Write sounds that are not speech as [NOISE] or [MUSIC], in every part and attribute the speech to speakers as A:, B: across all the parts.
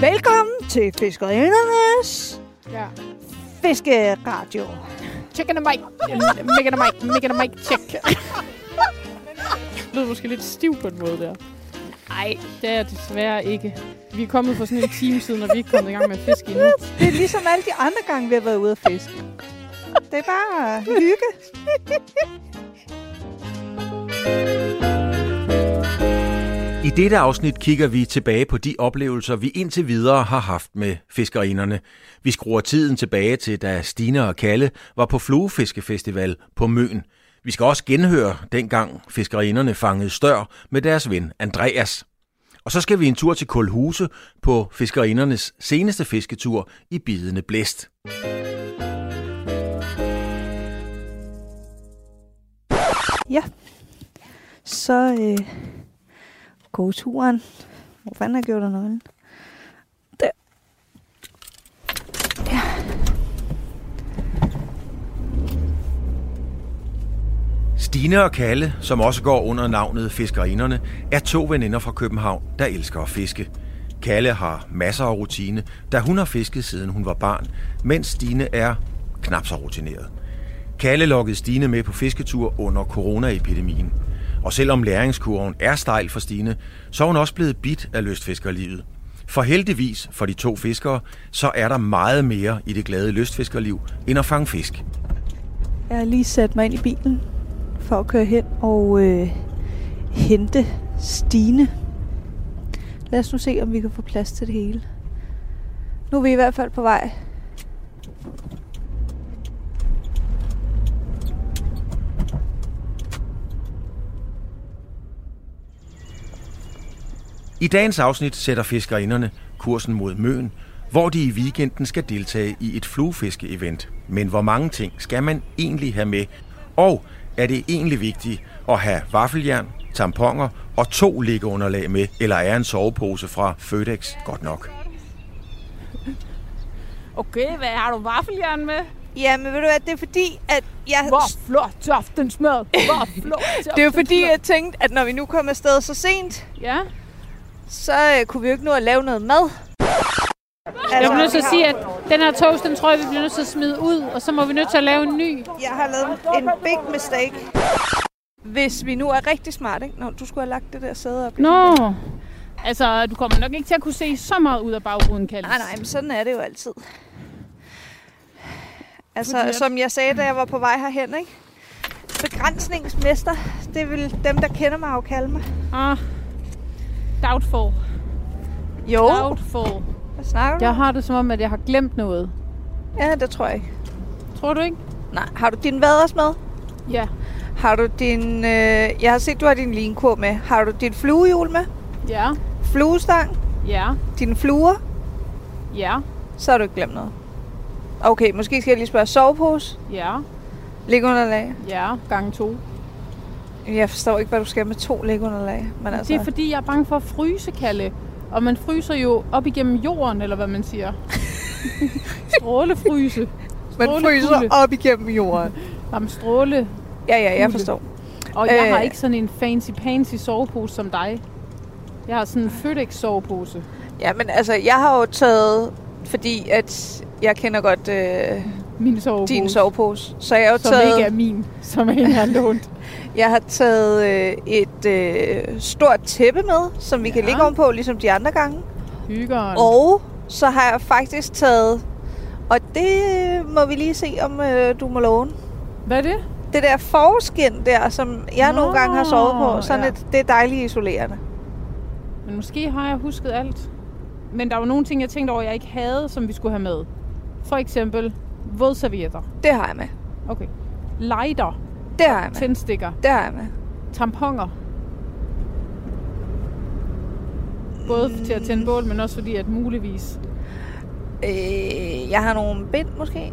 A: Velkommen til Fiskerindernes
B: Ja.
A: Fiskeradio.
B: Check in the mic. Make in the mic. Make in the mic. Check. Det lød måske lidt stiv på en måde der. Nej, det er jeg desværre ikke. Vi er kommet for sådan en time siden, og vi er ikke kommet i gang med at fiske endnu.
A: Det er ligesom alle de andre gange, vi har været ude at fiske. Det er bare hygge.
C: I dette afsnit kigger vi tilbage på de oplevelser, vi indtil videre har haft med fiskerinderne. Vi skruer tiden tilbage til, da Stine og Kalle var på Fluefiskefestival på Møn. Vi skal også genhøre dengang fiskerinderne fangede stør med deres ven Andreas. Og så skal vi en tur til Kulhuse på fiskerindernes seneste fisketur i Bidende Blæst.
A: Ja. Så øh, gå turen. Hvor fanden har jeg gjort af nøglen? Der. Ja.
C: Stine og Kalle, som også går under navnet Fiskerinderne, er to veninder fra København, der elsker at fiske. Kalle har masser af rutine, da hun har fisket siden hun var barn, mens Stine er knap så rutineret. Kalle lokkede Stine med på fisketur under coronaepidemien. Og selvom læringskurven er stejl for Stine, så er hun også blevet bit af lystfiskerlivet. For heldigvis for de to fiskere, så er der meget mere i det glade lystfiskerliv end at fange fisk.
A: Jeg har lige sat mig ind i bilen for at køre hen og øh, hente Stine. Lad os nu se, om vi kan få plads til det hele. Nu er vi i hvert fald på vej.
C: I dagens afsnit sætter fiskerinderne kursen mod Møn, hvor de i weekenden skal deltage i et fluefiske-event. Men hvor mange ting skal man egentlig have med? Og er det egentlig vigtigt at have vaffeljern, tamponer og to liggeunderlag med, eller er en sovepose fra Fødex godt nok?
B: Okay, hvad har du vaffeljern med?
A: Ja, men ved du hvad, det er fordi, at jeg...
B: Hvor flot til aftensmad. Hvor flot til
A: Det er jo fordi, jeg tænkte, at når vi nu kom afsted så sent,
B: Ja.
A: så øh, kunne vi jo ikke nå at lave noget mad. Altså,
B: Jeg bliver nødt til at sige, at den her toast, den tror jeg, vi bliver nødt til at smide ud, og så må vi nødt til at lave en ny.
A: Jeg har lavet en big mistake. Hvis vi nu er rigtig smarte, ikke? Nå, du skulle have lagt det der sæde op.
B: Nå. Altså, du kommer nok ikke til at kunne se så meget ud af bagruden, Kallis.
A: Nej, nej, men sådan er det jo altid. Altså,
B: Fordi at-
A: som jeg sagde, da jeg var på vej herhen, ikke? Begrænsningsmester, det vil dem, der kender mig, jo kalde mig.
B: Ah. Doubtful.
A: Jo,
B: Doubtful.
A: hvad snakker du?
B: Jeg
A: om?
B: har det som om, at jeg har glemt noget.
A: Ja, det tror jeg ikke.
B: Tror du ikke?
A: Nej, har du din vaders med?
B: Ja.
A: Har du din... Øh, jeg har set, du har din linkur med. Har du dit fluehjul med?
B: Ja.
A: Fluestang?
B: Ja.
A: Dine fluer?
B: Ja.
A: Så har du ikke glemt noget. Okay, måske skal jeg lige spørge. Sovepose?
B: Ja.
A: Lægunderlag?
B: Ja. Gange to.
A: Jeg forstår ikke, hvad du skal med to lægunderlag. Men altså...
B: Det er fordi, jeg er bange for at fryse, Kalle. Og man fryser jo op igennem jorden, eller hvad man
A: [LAUGHS]
B: siger. Strålefryse.
A: man fryser
B: strålekulde.
A: op igennem jorden.
B: Jamen, stråle.
A: Ja, ja, jeg
B: Kulde.
A: forstår.
B: Og jeg
A: Øh.
B: har ikke sådan en fancy-pansy sovepose som dig. Jeg har sådan en Føtex-sovepose.
A: Ja, men altså, jeg har jo taget... Fordi at jeg kender godt øh,
B: Min sovepose.
A: din sovepose. Så jeg har jo
B: Som
A: taget...
B: ikke er min, som er en jeg har lånt.
A: Jeg har taget øh, et øh, stort tæppe med, som vi ja. kan
B: Ja.
A: ligge ovenpå, ligesom de andre gange.
B: Hyggeren.
A: Og så har jeg faktisk taget, og det øh, må vi lige se, om øh, du må låne.
B: Hvad er det?
A: Det der forskin der, som jeg Nå,
B: Nå,
A: nogle gange har sovet på, sådan ja.
B: ja.
A: et, det er dejligt isolerende.
B: Men måske har jeg husket alt. Men der var nogle ting, jeg tænkte over, jeg ikke havde, som vi skulle have med. For eksempel vådservietter.
A: Det har jeg med.
B: Okay. Lighter,
A: Det har jeg med.
B: tændstikker,
A: Det har jeg med.
B: tamponer. Både til at tænde bål, men også fordi, at muligvis...
A: Øh, jeg har nogle bind måske.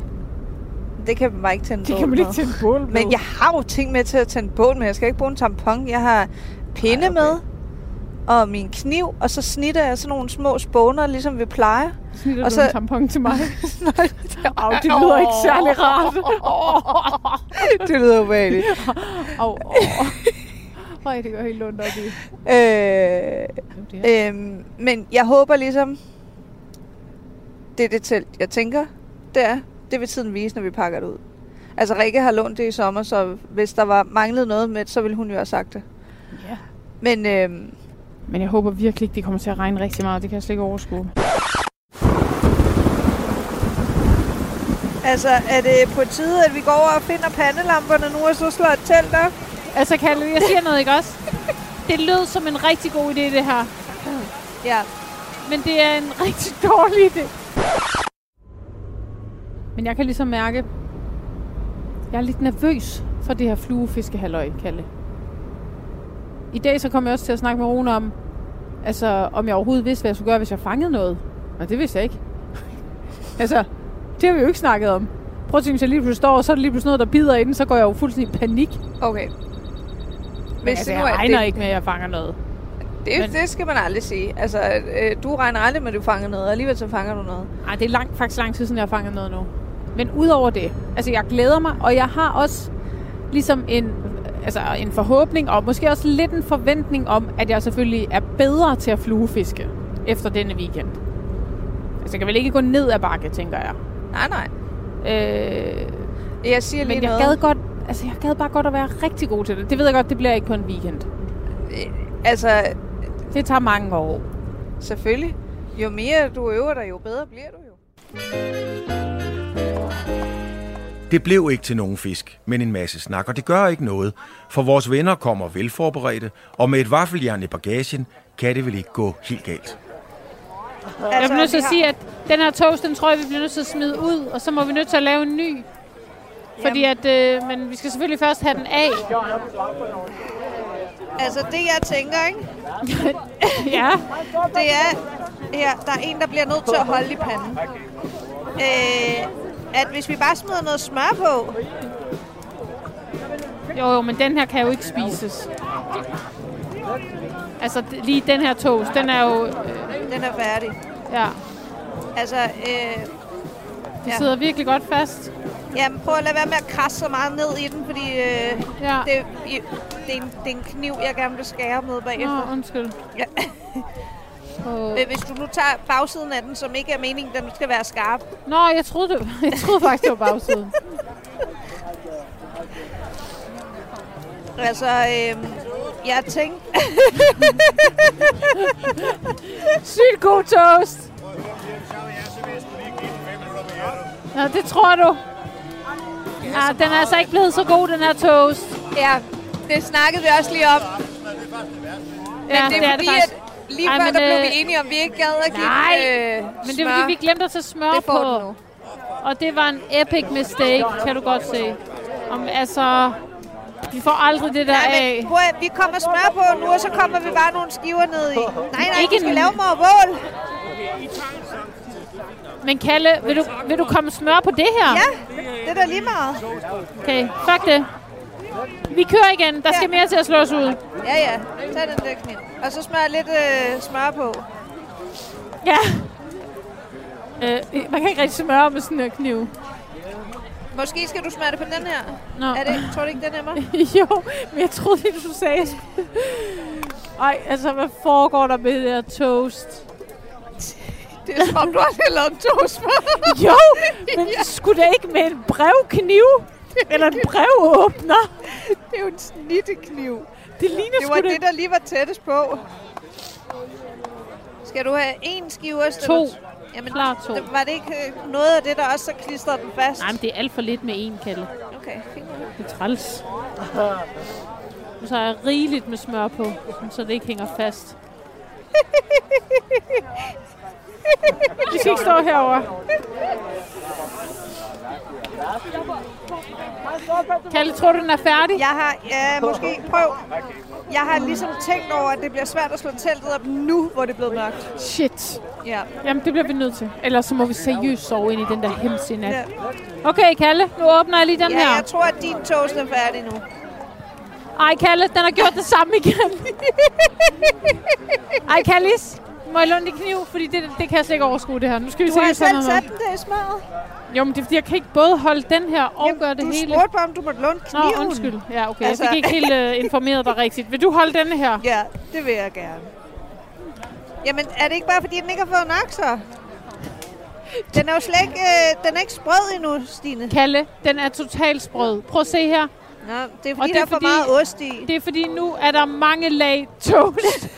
A: Det kan man bare ikke tænde
B: Det
A: bål
B: kan man
A: med.
B: ikke tænde bål med.
A: Men jeg har jo ting med til at tænde bål med. Jeg skal ikke bruge en tampon. Jeg har pinde Ej,
B: Ej,
A: okay.
B: okay.
A: med, og min kniv, og så snitter jeg sådan nogle små spåner, ligesom vi plejer.
B: Snitter
A: og
B: og
A: så-
B: så... en tampon til mig?
A: [LAUGHS]
B: Au, det lyder ikke særlig [LAUGHS] rart.
A: det lyder ubehageligt.
B: Au, au. Øj, det gør helt ondt op i.
A: Øh, øhm,
B: Jo, det er-
A: øh, men jeg håber ligesom, det er det telt, jeg tænker, det er. Det vil tiden vise, når vi pakker det ud. Altså, Rikke har lånt det i sommer, så hvis der var manglet noget med det, så ville hun jo have sagt det.
B: Ja.
A: Men øhm,
B: Men jeg håber virkelig ikke, det kommer til at regne rigtig meget. Det kan jeg slet ikke overskue.
A: altså, er det på tide, at vi går over og finder pandelamperne nu, og så slår et telt op?
B: Altså, Kalle, jeg siger noget, ikke også? Det lød som en rigtig god idé, det her.
A: Ja.
B: Men det er en rigtig [LAUGHS] dårlig idé. Men jeg kan ligesom mærke, jeg er lidt nervøs for det her fluefiskehalløj, Kalle. I dag så kom jeg også til at snakke med Rune om, altså om jeg overhovedet vidste, hvad jeg skulle gøre, hvis jeg fangede noget. Og det vidste jeg ikke. [LAUGHS] altså, det har vi jo ikke snakket om. Prøv at tænke, hvis jeg lige pludselig står, og så er der lige pludselig noget, der bider inden, så går jeg jo fuldstændig i panik. Men
A: Okay. Hvis
B: altså,
A: det
B: jeg
A: nu er-
B: regner
A: det,
B: ikke med, at jeg fanger noget.
A: Det,
B: men-
A: det skal man aldrig sige. Altså, øh, du regner aldrig med, at du fanger noget, og alligevel så fanger du noget.
B: Ej, det er lang, faktisk lang tid siden, jeg har fanget noget nu. Men udover det, altså jeg glæder mig, og jeg har også ligesom en, altså en forhåbning, og måske også lidt en forventning om, at jeg selvfølgelig er bedre til at fluefiske efter denne weekend. Altså jeg kan vel ikke gå ned ad bakke, tænker jeg.
A: Nej, nej.
B: Øh,
A: Jeg siger lige
B: men jeg
A: noget.
B: gad godt, altså jeg gad bare godt at være rigtig god til det. Det ved jeg godt, det bliver ikke på en weekend.
A: Altså,
B: Det tager mange år.
A: selvfølgelig. Jo mere du øver dig, jo bedre bliver du jo.
C: Det blev ikke til nogen fisk, men en masse snak, og det gør ikke noget, for vores venner kommer velforberedte, og med et vaffeljern i bagagen kan det vel ikke gå helt galt.
A: Altså,
B: Jeg bliver nødt til
A: vi
B: at
A: har-
B: sige, at den her toast, den tror jeg, vi bliver nødt til at smide ud, og så må vi nødt til at lave en ny. Fordi at, øh, men vi skal selvfølgelig først have den af.
A: Altså, det jeg tænker, ikke?
B: ja.
A: Det er, her, der er en, der bliver nødt til at holde i panden. Øh, at hvis vi bare smider noget smør på,
B: Jo, jo, men den her kan jo ikke spises. Altså, d- lige den her toast, den er jo... Øh,
A: den er færdig.
B: ja,
A: Altså, øh,
B: det
A: Ja.
B: sidder virkelig godt fast.
A: jamen, prøv at lade være med at krasse så meget ned i den, fordi øh,
B: Ja.
A: det, i, det, er en, det er en kniv, jeg gerne vil skære med bagefter.
B: Nå, undskyld.
A: Ja.
B: Åh.
A: Øh, Hvis du nu tager bagsiden af den, som ikke er meningen, den skal være skarp.
B: Nå, jeg troede, det, [LAUGHS] jeg troede faktisk, det var bagsiden.
A: Altså, øh, jeg tænkte...
B: Sygt god toast! Nå, det tror du. Ja, den er altså ikke blevet så god, den her toast.
A: Ja, det snakkede vi også lige om. Men
B: Ja,
A: det er, det er fordi,
B: faktisk.
A: at lige
B: Ej,
A: før,
B: men,
A: der blev
B: øh,
A: vi enige om, at vi ikke gad at give
B: nej,
A: øh,
B: Men det
A: smør.
B: er fordi, vi glemte at tage smør
A: det får du
B: på.
A: nu.
B: Og det var en epic mistake, kan du godt se. Om, altså, vi får aldrig det der
A: Nej,
B: af.
A: men prøv at, vi kommer smør på nu, og så kommer vi bare nogle skiver ned i. Nej, nej,
B: Ikke
A: vi skal
B: en-
A: lave mig over bål.
B: Men Kalle, vil du, vil du komme smør på det her?
A: Ja, det er da lige meget.
B: Okay, fuck det. Vi kører igen. Der skal
A: Ja.
B: mere til at slås ud.
A: Ja, ja, tag den der kniv. Og så smør lidt øh, smør på.
B: Ja. Øh, man kan ikke rigtig smøre med sådan en kniv. [LAUGHS]
A: Måske skal du smøre det på den her.
B: Nå.
A: Er det, tror du ikke, den er mig?
B: jo, men jeg troede lige, du sagde... jeg skulle- Ej, altså, hvad foregår der med det der toast?
A: Det er som om, du har lavet en to smør.
B: Jo, men skulle det ikke med en brevkniv? Eller en brevåbner?
A: Det er jo en snittekniv.
B: Det ligner
A: Det
B: sgu
A: var
B: da...
A: det, der lige var tættest på. Skal du have en skive ost?
B: To.
A: eller- Jamen,
B: Klar to.
A: det- Var det ikke øh, noget af det, der også så klistrede den fast?
B: Nej, men det er alt for lidt med en, Kalle.
A: Okay, fint.
B: Det er træls. Nu så har jeg rigeligt med smør på, sådan så det ikke hænger fast. Vi skal ikke stå herovre. Kalle, tror du, den er færdig?
A: Jeg har, ja, måske, prøv. Jeg har ligesom tænkt over, at det bliver svært at slå teltet op nu, hvor det er blevet mørkt.
B: Shit.
A: Ja.
B: Jamen, det bliver vi nødt til. Ellers så må vi seriøst sove ind i den der hemmelige
A: Ja.
B: nat. Okay, Kalle, nu åbner jeg lige den
A: ja,
B: her.
A: jeg tror, at din toast er færdig nu.
B: Ej, Kalle, den har gjort det samme igen. Ej, Kallis, må jeg låne din kniv? Fordi det, det kan jeg slet ikke overskue det her. Nu skal vi
A: Du har
B: se,
A: selv
B: sådan
A: sat
B: noget.
A: den der i smøret.
B: Jo, men det er fordi, jeg kan ikke både holde den her og gøre det
A: du
B: hele.
A: spurgte bare, om du måtte låne kniven.
B: Nå, undskyld. Ja, okay.
A: Altså-
B: Jeg fik ikke helt uh, informeret dig rigtigt. Vil du holde denne her?
A: Ja, det vil jeg gerne. Jamen, er det ikke bare, fordi den ikke har fået nok, så? Den er jo slet ikke, øh, den er ikke sprød endnu, Stine.
B: Kalle, den er totalt sprød. Prøv at se her.
A: Nå, det er fordi,
B: Og det
A: der
B: er
A: er for
B: fordi-
A: meget ost i.
B: Det er fordi, nu er der mange lag toast.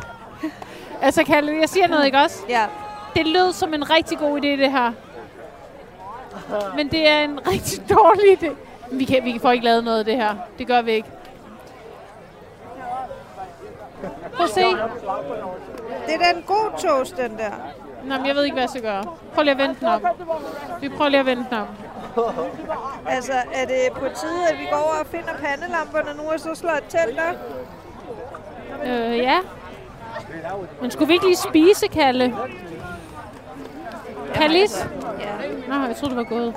B: [LAUGHS] altså, Kalle, jeg siger noget, ikke også?
A: Ja.
B: Det lød som en rigtig god idé, det her. Men det er en rigtig [LAUGHS] dårlig idé. Vi, kan, vi får ikke lavet noget af det her. Det gør vi ikke. Prøv at se.
A: Det er da en god toast, den der.
B: Nå, men jeg ved ikke, hvad jeg skal gøre. Prøv lige at vente den om. Vi prøver lige at vente den om.
A: Altså, er det på tide, at vi går over og finder pandelamperne nu, og så slår et telt op?
B: Øh, ja. Men skulle vi ikke lige spise, Kalle? Kallis?
A: Ja.
B: Nå, jeg troede, det var gået.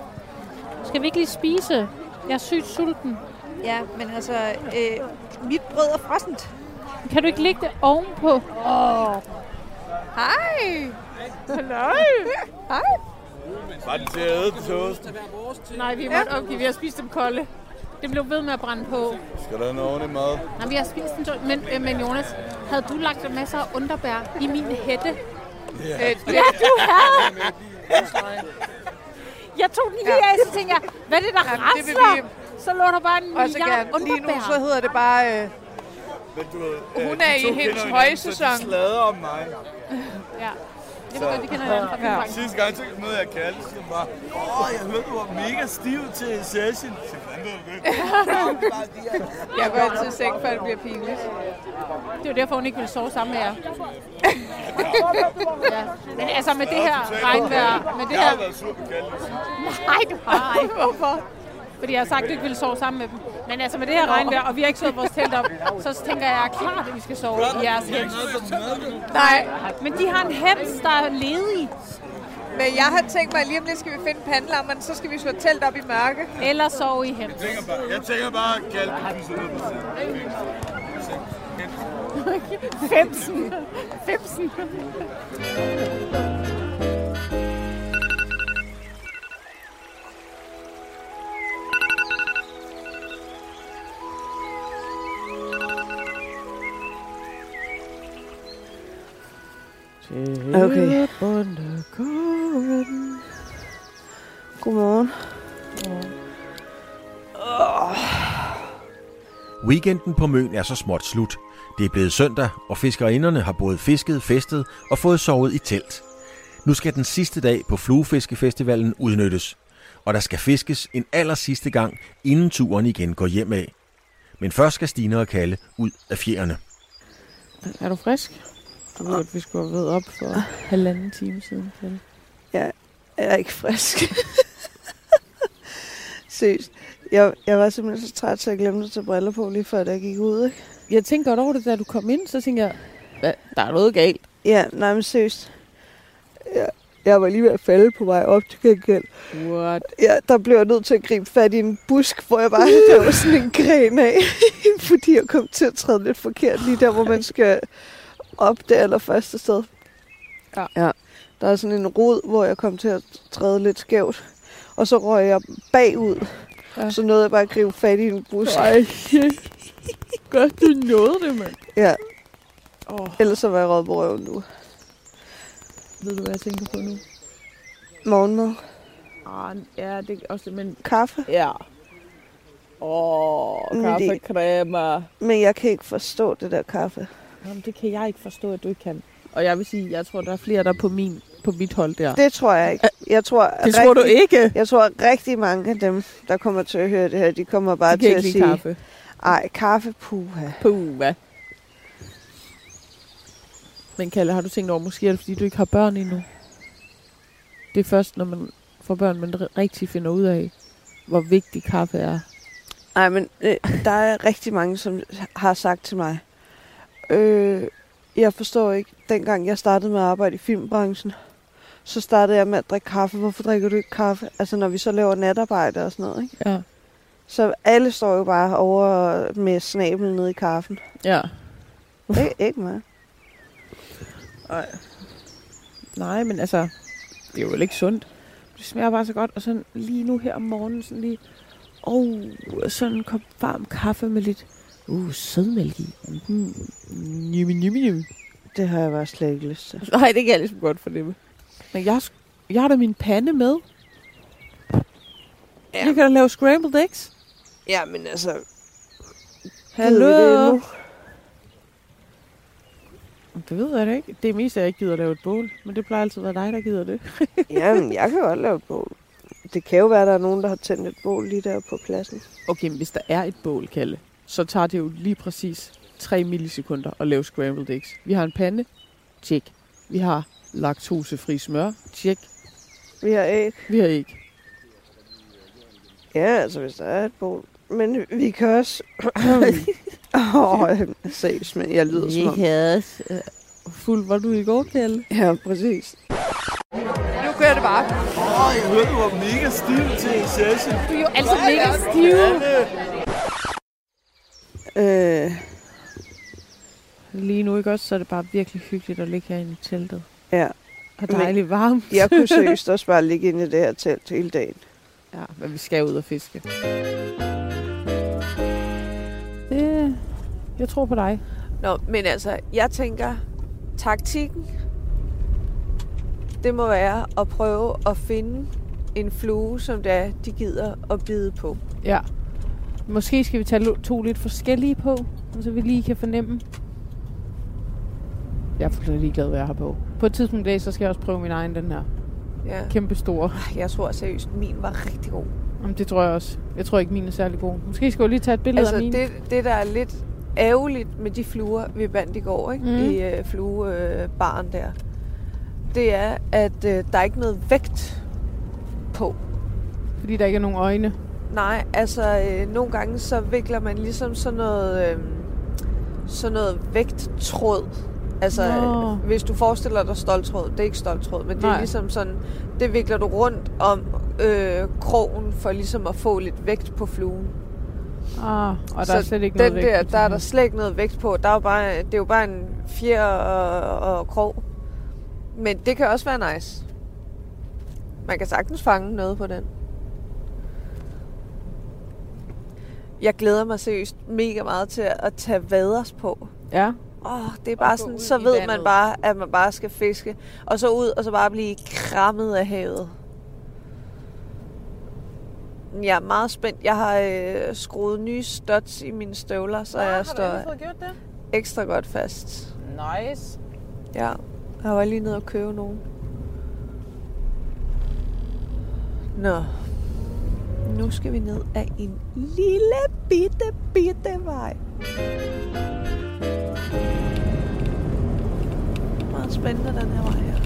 B: Skal vi ikke lige spise? Jeg er sygt sulten.
A: Ja, men altså, øh, mit brød er frossent.
B: Kan du ikke lægge det ovenpå? Åh,
A: Hej! Hallo! Hej!
D: Var det til at æde toast?
B: nej, vi måtte opgive. Vi har spist dem kolde. Det blev ved med at brænde på.
D: Skal der have noget ordentligt mad?
B: Nej, vi har spist dem to- men, øh, men Jonas, havde du lagt masser af underbær i min hætte? Yeah. Øh, ja, du havde! jeg tog den lige af, så tænkte jeg, hvad er det, der
A: Jamen, det vil
B: rasler?
A: vi
B: Så lå der bare en
A: Og så
B: milliard
A: gerne. Lige nu,
B: underbær.
A: så hedder det bare... Øh,
D: Hun
A: er i hendes højsæson.
D: Så de slader om mig.
B: Ja. Jeg ved godt, de kender hinanden fra
A: Ja.
B: ja.
D: Sidste gang, så mødte jeg Kalle, så var åh, jeg hørte, du var mega stiv til session. Så fandt du [LAUGHS] det.
A: jeg går altid i seng, før det bliver pinligt.
B: Det var derfor, hun ikke ville sove sammen
A: [LAUGHS]
B: med jer. ja. Men altså med det her
D: Totalt
B: regnvejr,
D: okay.
B: med det
D: Jeg
B: her...
D: har været sur på Kalle.
B: Nej, du har ej. Hvorfor? Fordi jeg har sagt, at du ikke ville sove sammen med dem. Men altså med det her regnvejr, og vi har ikke slået vores telt op, så tænker jeg, at klart, at vi skal sove i jeres hems. Nej, men de har en hems, der er ledig.
A: Men jeg har tænkt mig, at lige om lidt skal vi finde pandelamperne, så skal vi slå telt op i mørke.
B: Eller sove i hems.
D: Jeg tænker bare, jeg tænker bare, at Kalle pisser ud på siden.
B: Femsen. Femsen.
E: Okay. Godmorgen.
C: Weekenden på Møn er så småt slut. Det er blevet søndag, og fiskerinderne har både fisket, festet og fået sovet i telt. Nu skal den sidste dag på Fluefiskefestivalen udnyttes, og der skal fiskes en aller sidste gang, inden turen igen går hjem af. Men først skal Stine og Kalle ud af fjerne.
E: Er du frisk?
B: Du ved, at vi skulle have været op for halvanden time siden.
E: Jeg er ikke frisk. [LAUGHS] Seriøst. Jeg, jeg var simpelthen så træt, så jeg glemte at tage briller på lige før, da jeg gik ud. Ikke?
F: Jeg tænkte godt over det, da du kom ind, så tænkte jeg, "Hva? der er noget galt.
E: Ja, nej, men seriøst. Jeg, jeg var lige ved at falde på vej op til gengæld.
F: What?
E: Ja, der blev jeg nødt til at gribe fat i en busk, hvor jeg bare
F: [LAUGHS]
E: der var sådan en gren af, [LAUGHS] fordi jeg kom til at træde lidt forkert lige der, hvor man skal op det allerførste sted.
F: Ja.
E: ja. Der er sådan en rod, hvor jeg kom til at træde lidt skævt, og så røg jeg bagud.
F: Ja.
E: Ja. Så nåede jeg bare at gribe fat i en busk.
F: Nej, godt du nåede det, mand.
E: Ja,
F: Åh, oh,
E: ellers så var jeg røget på røven nu.
F: ved du, hvad jeg tænker på nu?
E: Morgenmad,
F: Ah, ja, det er også, men
E: kaffe,
F: ja. Åh,
E: Men
F: oh,
E: det-
F: kaffecremer.
E: men jeg kan ikke forstå det der kaffe.
F: Jamen, det kan jeg ikke forstå, at du ikke kan. Og jeg vil sige, jeg tror, der er flere, der er på, min, på mit hold der.
E: Det tror jeg ikke. Jeg tror,
F: Øh, det tror du
E: rigtig-
F: ikke?
E: Jeg tror, at rigtig mange af dem, der kommer til at høre det her, de kommer bare
F: Jeg
E: til
F: kan
E: at
F: ikke lide
E: sige,
F: kaffe.
E: ej, kaffe, puha.
F: Puh, hvad? Men Kalle, har du tænkt over, måske er det, fordi du ikke har børn endnu? Det er først, når man får børn, man ri- rigtig finder ud af, hvor vigtig kaffe er.
E: Nej, men øh, der er rigtig mange, som har sagt til mig, øh, jeg forstår ikke, dengang jeg startede med at arbejde i filmbranchen, så startede jeg med at drikke kaffe. Hvorfor drikker du ikke kaffe? Altså, når vi så laver natarbejde og sådan noget, ikke?
F: Ja.
E: Så alle står jo bare over med snablen nede i kaffen.
F: Ja. [LAUGHS]
E: Ikke, ikke mig.
F: Nej, men altså, det er jo vel ikke sundt. Det smager bare så godt, og sådan lige nu her om morgenen, sådan lige, oh, sådan en kop varm kaffe med lidt, uh, sødmælk i. Mm, njimi, njimi, njimi.
E: Det har jeg bare slet ikke lyst til.
F: Nej, det kan jeg ligesom godt fornemme. Men jeg, har sk- jeg har da min pande med. Ja. Jeg kan da lave scrambled eggs.
E: Ja, men altså... [LAUGHS]
F: Hallo?
E: Ved vi det endnu?
F: Det ved jeg da ikke. Det er mest, at jeg ikke gider at lave et bål. Men det plejer altid at være dig, der gider det.
E: Jamen, jeg kan godt lave et bål. Det kan jo være, at der er nogen, der har tændt et bål lige der på pladsen.
F: Okay, men hvis der er et bål, Kalle, så tager det jo lige præcis 3 millisekunder at lave scrambled eggs. Vi har en pande. Tjek. Vi har laktosefri smør. Tjek.
E: Vi har æg.
F: Vi har ikke.
E: Ja, altså, hvis der er et bål. Men vi kan
F: [LAUGHS]
E: også... [LAUGHS] Åh, oh, ses, men jeg lyder som om...
F: Yes. øh, Fuld var du i går, Kalle?
E: Ja, præcis.
A: Nu kører det bare.
D: Åh, jeg hørte, du var mega stiv til en session.
B: Du er jo altid mega stiv.
E: Øh,
F: Lige nu, ikke også? Så er det bare virkelig hyggeligt at ligge herinde i teltet.
E: Ja.
F: Og
E: Men-
F: dejligt varmt.
E: jeg kunne seriøst også bare ligge inde i det her telt hele dagen.
F: Ja, men vi skal ud og fiske.
B: Det, jeg tror på dig.
E: Nå, men altså, jeg tænker, taktikken, det må være at prøve at finde en flue, som det er, de gider at bide på.
B: Ja. Måske skal vi tage lo- to lidt forskellige på, så vi lige kan fornemme. Jeg er fuldstændig ligeglad, hvad jeg har på. På et tidspunkt i dag, så skal jeg også prøve min egen, den her
E: Ja.
B: kæmpe store.
E: Jeg tror seriøst, min var rigtig god.
B: Jamen, det tror jeg også. Jeg tror ikke, min er særlig god. Måske skal jeg lige tage et billede
E: Altså,
B: af min.
E: det, det, der er lidt ærgerligt med de fluer, vi bandt i går, ikke?
B: Mhm.
E: Mm. i øh, fluebaren der, det er, at øh, der er ikke noget vægt på.
B: Fordi der ikke er nogen øjne.
E: Nej, altså øh, nogle gange så vikler man ligesom sådan noget, øh, sådan noget vægttråd. Altså
B: Nå.
E: øh, hvis du forestiller dig stoltråd, det er ikke stoltråd, men det
B: Nej.
E: er ligesom sådan, det vikler du rundt om øh, krogen for ligesom at få lidt vægt på fluen.
B: Ah, og der er
E: Så
B: slet ikke
E: den
B: noget
E: der,
B: vægt på
E: der er der
B: den.
E: slet ikke noget vægt på. Der er jo bare, det er jo bare en fjer og, og krog. Men det kan også være nice. Man kan sagtens fange noget på den. Jeg glæder mig seriøst mega meget til at tage vaders på.
B: Ja.
E: Åh, det er bare
A: gå ud
E: sådan, så
A: i
E: ved man
A: vandet.
E: bare, at man bare skal fiske. Og så ud, og så bare blive krammet af havet. Jeg er meget spændt. Jeg har øh, skruet nye studs i mine støvler, så jeg står
F: fået gjort det?
E: ekstra godt fast.
F: Nice.
E: Ja, jeg var lige nede og købe nogen. Nå, nu skal vi ned af en lille bitte, bitte vej. Meget spændende, den her vej her.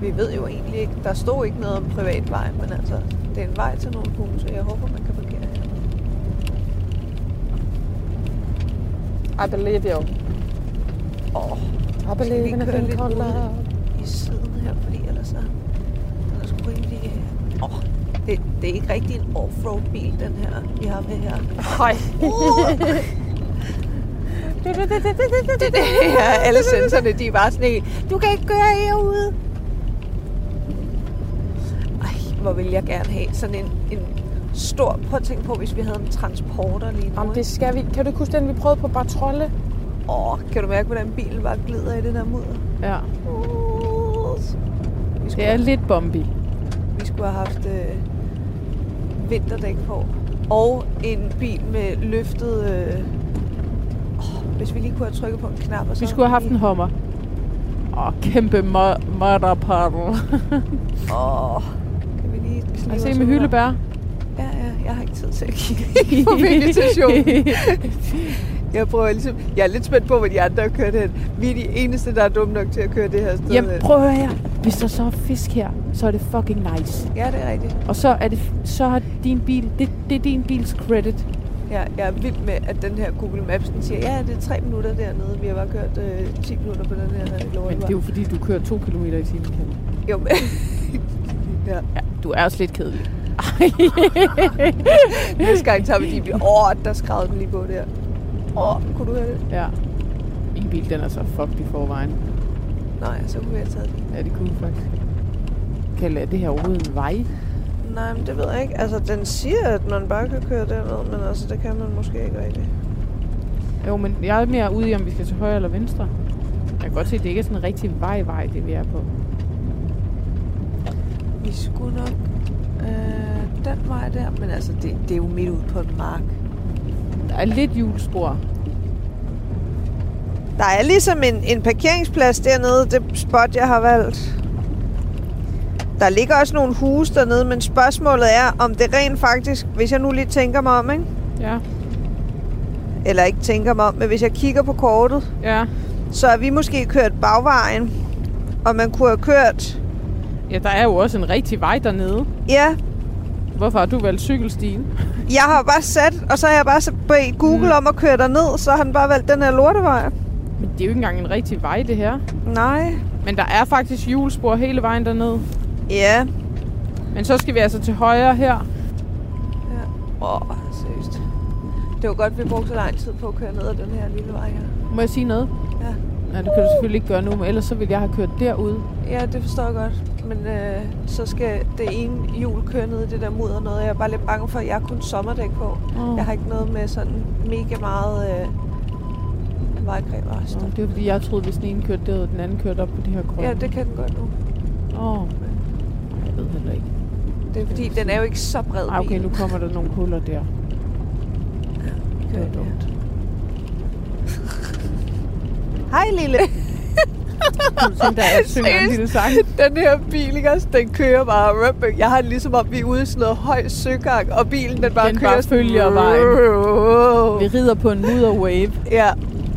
E: Vi ved jo egentlig ikke, der stod ikke noget om privat vej, men altså, det er en vej til nogle huse, jeg håber, man kan parkere her.
B: I believe you. I
E: Åh, Skal vi
B: believe
E: in a køre thing lidt called roligt? love. i siden her, fordi ellers er den er sgu rimelig... øh, Åh, det, det er ikke rigtig en offroad-bil, den her, vi har med her. Høj. det, det, ja, alle sensorerne, de er bare sådan helt, du kan ikke køre herude. Ej, hvor vil jeg gerne have sådan en, en stor... Prøv at tænke på, hvis vi havde en transporter lige nu.
B: Jamen,
E: ikke?
B: det skal vi. Kan du ikke huske den, vi prøvede på Bartrolle?
E: Åh, kan du mærke, hvordan bilen bare glider i den her mudder?
B: Ja.
E: Uh, vi
B: Det
E: skulle-
B: er lidt bumpy.
E: Vi skulle have haft øh, vinterdæk på. Og en bil med løftet... Øh, oh, hvis vi lige kunne have trykket på en knap. Og så
B: Vi skulle have haft en hommer. Åh, kæmpe mudderpuddle.
E: Åh, oh, kan vi lige knive
B: Og se
E: os
B: med
E: ud her?
B: hyldebær.
E: Ja, ja, jeg har ikke tid til at
B: [LAUGHS]
E: kigge [LAUGHS] på vegetationen. Jeg prøver ligesom... Jeg er lidt spændt på, hvor de andre har kørt hen. Vi er de eneste, der er dumme nok til at køre det her sted
B: Jamen,
E: hen.
B: prøv at høre her. Hvis der så er fisk her, så er det fucking nice.
E: Ja, det er rigtigt.
B: Og så er det, så har din bil, det, det er din bils credit.
E: Ja, jeg er vild med, at den her Google Maps den siger, ja, det er tre minutter dernede. Vi har bare kørt øh, 10 minutter på den her øh, lortevej.
B: Men det er jo fordi, du kører to kilometer i timen, Kalle.
E: Jo, men... [LAUGHS] ja.
B: Du er også lidt kedelig.
E: Næste gang tager vi de biler. Åh, der skravede den lige på der. Åh, kunne du høre det?
B: Ja. Min bil, den er så fucked i forvejen.
E: Nej, så kunne vi have taget den.
B: Ja, det kunne vi faktisk. Kalle, er det her overhovedet en vej?
E: Nej, men det ved jeg ikke. Altså, den siger, at man bare kan køre derned, men altså, det kan man måske ikke rigtigt.
B: Jo, men jeg er mere ude i, om vi skal til højre eller venstre. Jeg kan godt se, at det ikke er sådan en rigtig vej-vej, det vi er på.
E: Vi skulle nok øh, den vej der, men altså, det, det er jo midt ude på en mark.
B: Der er lidt julespor.
A: Der er ligesom en, en parkeringsplads dernede, det spot, jeg har valgt. Der ligger også nogle huse dernede, men spørgsmålet er, om det rent faktisk, hvis jeg nu lige tænker mig om, ikke?
B: Ja,
A: eller ikke tænker mig om, men hvis jeg kigger på kortet,
B: ja.
A: så er vi måske kørt bagvejen, og man kunne have kørt,
B: Ja, der er jo også en rigtig vej dernede.
A: ja,
B: Hvorfor har du valgt cykelstien?
A: jeg har bare sat, og så har jeg bare så- bedt Google mm. om at køre derned, så har han bare valgt den her lortevej.
B: Men det er jo ikke engang en rigtig vej, det her.
A: Nej.
B: Men der er faktisk julespor hele vejen derned.
A: Ja.
B: Men så skal vi altså til højre her.
E: Åh, oh, seriøst. Det var godt, vi brugte så lang tid på at køre ned ad den her lille vej her.
B: Må jeg sige noget?
E: Ja.
B: Nej, det kan du selvfølgelig ikke gøre nu, men ellers så ville jeg have kørt derude.
E: Ja, det forstår jeg godt. Men øh, så skal det ene hjul køre ned i det der mudder noget. Jeg er bare lidt bange for, at jeg har kun sommerdæk på.
B: Oh.
E: Jeg har ikke noget med sådan mega meget øh, vejgreb og
B: Nå,
E: sådan.
B: det var fordi, jeg troede, hvis den ene kørte derud, den anden kørte op på det her grønne.
E: Ja, det kan den godt nu.
B: Åh, oh. jeg ved heller ikke.
E: Det er fordi, den er jo ikke så bred.
B: Ah, okay,
E: bilen.
B: nu kommer der nogle huller der. Det var dumt.
A: Hej,
B: [LAUGHS]
A: lille.
B: Sådan der er synger en lille sang.
E: Den her bil, ikke også? Den kører bare. rup. Jeg har det ligesom om, vi er ude i sådan noget høj søgang, og bilen den bare
B: Den
E: kører.
B: bare
E: sådan-
B: følger vejen. Vi rider på en mudderwave.
E: Ja,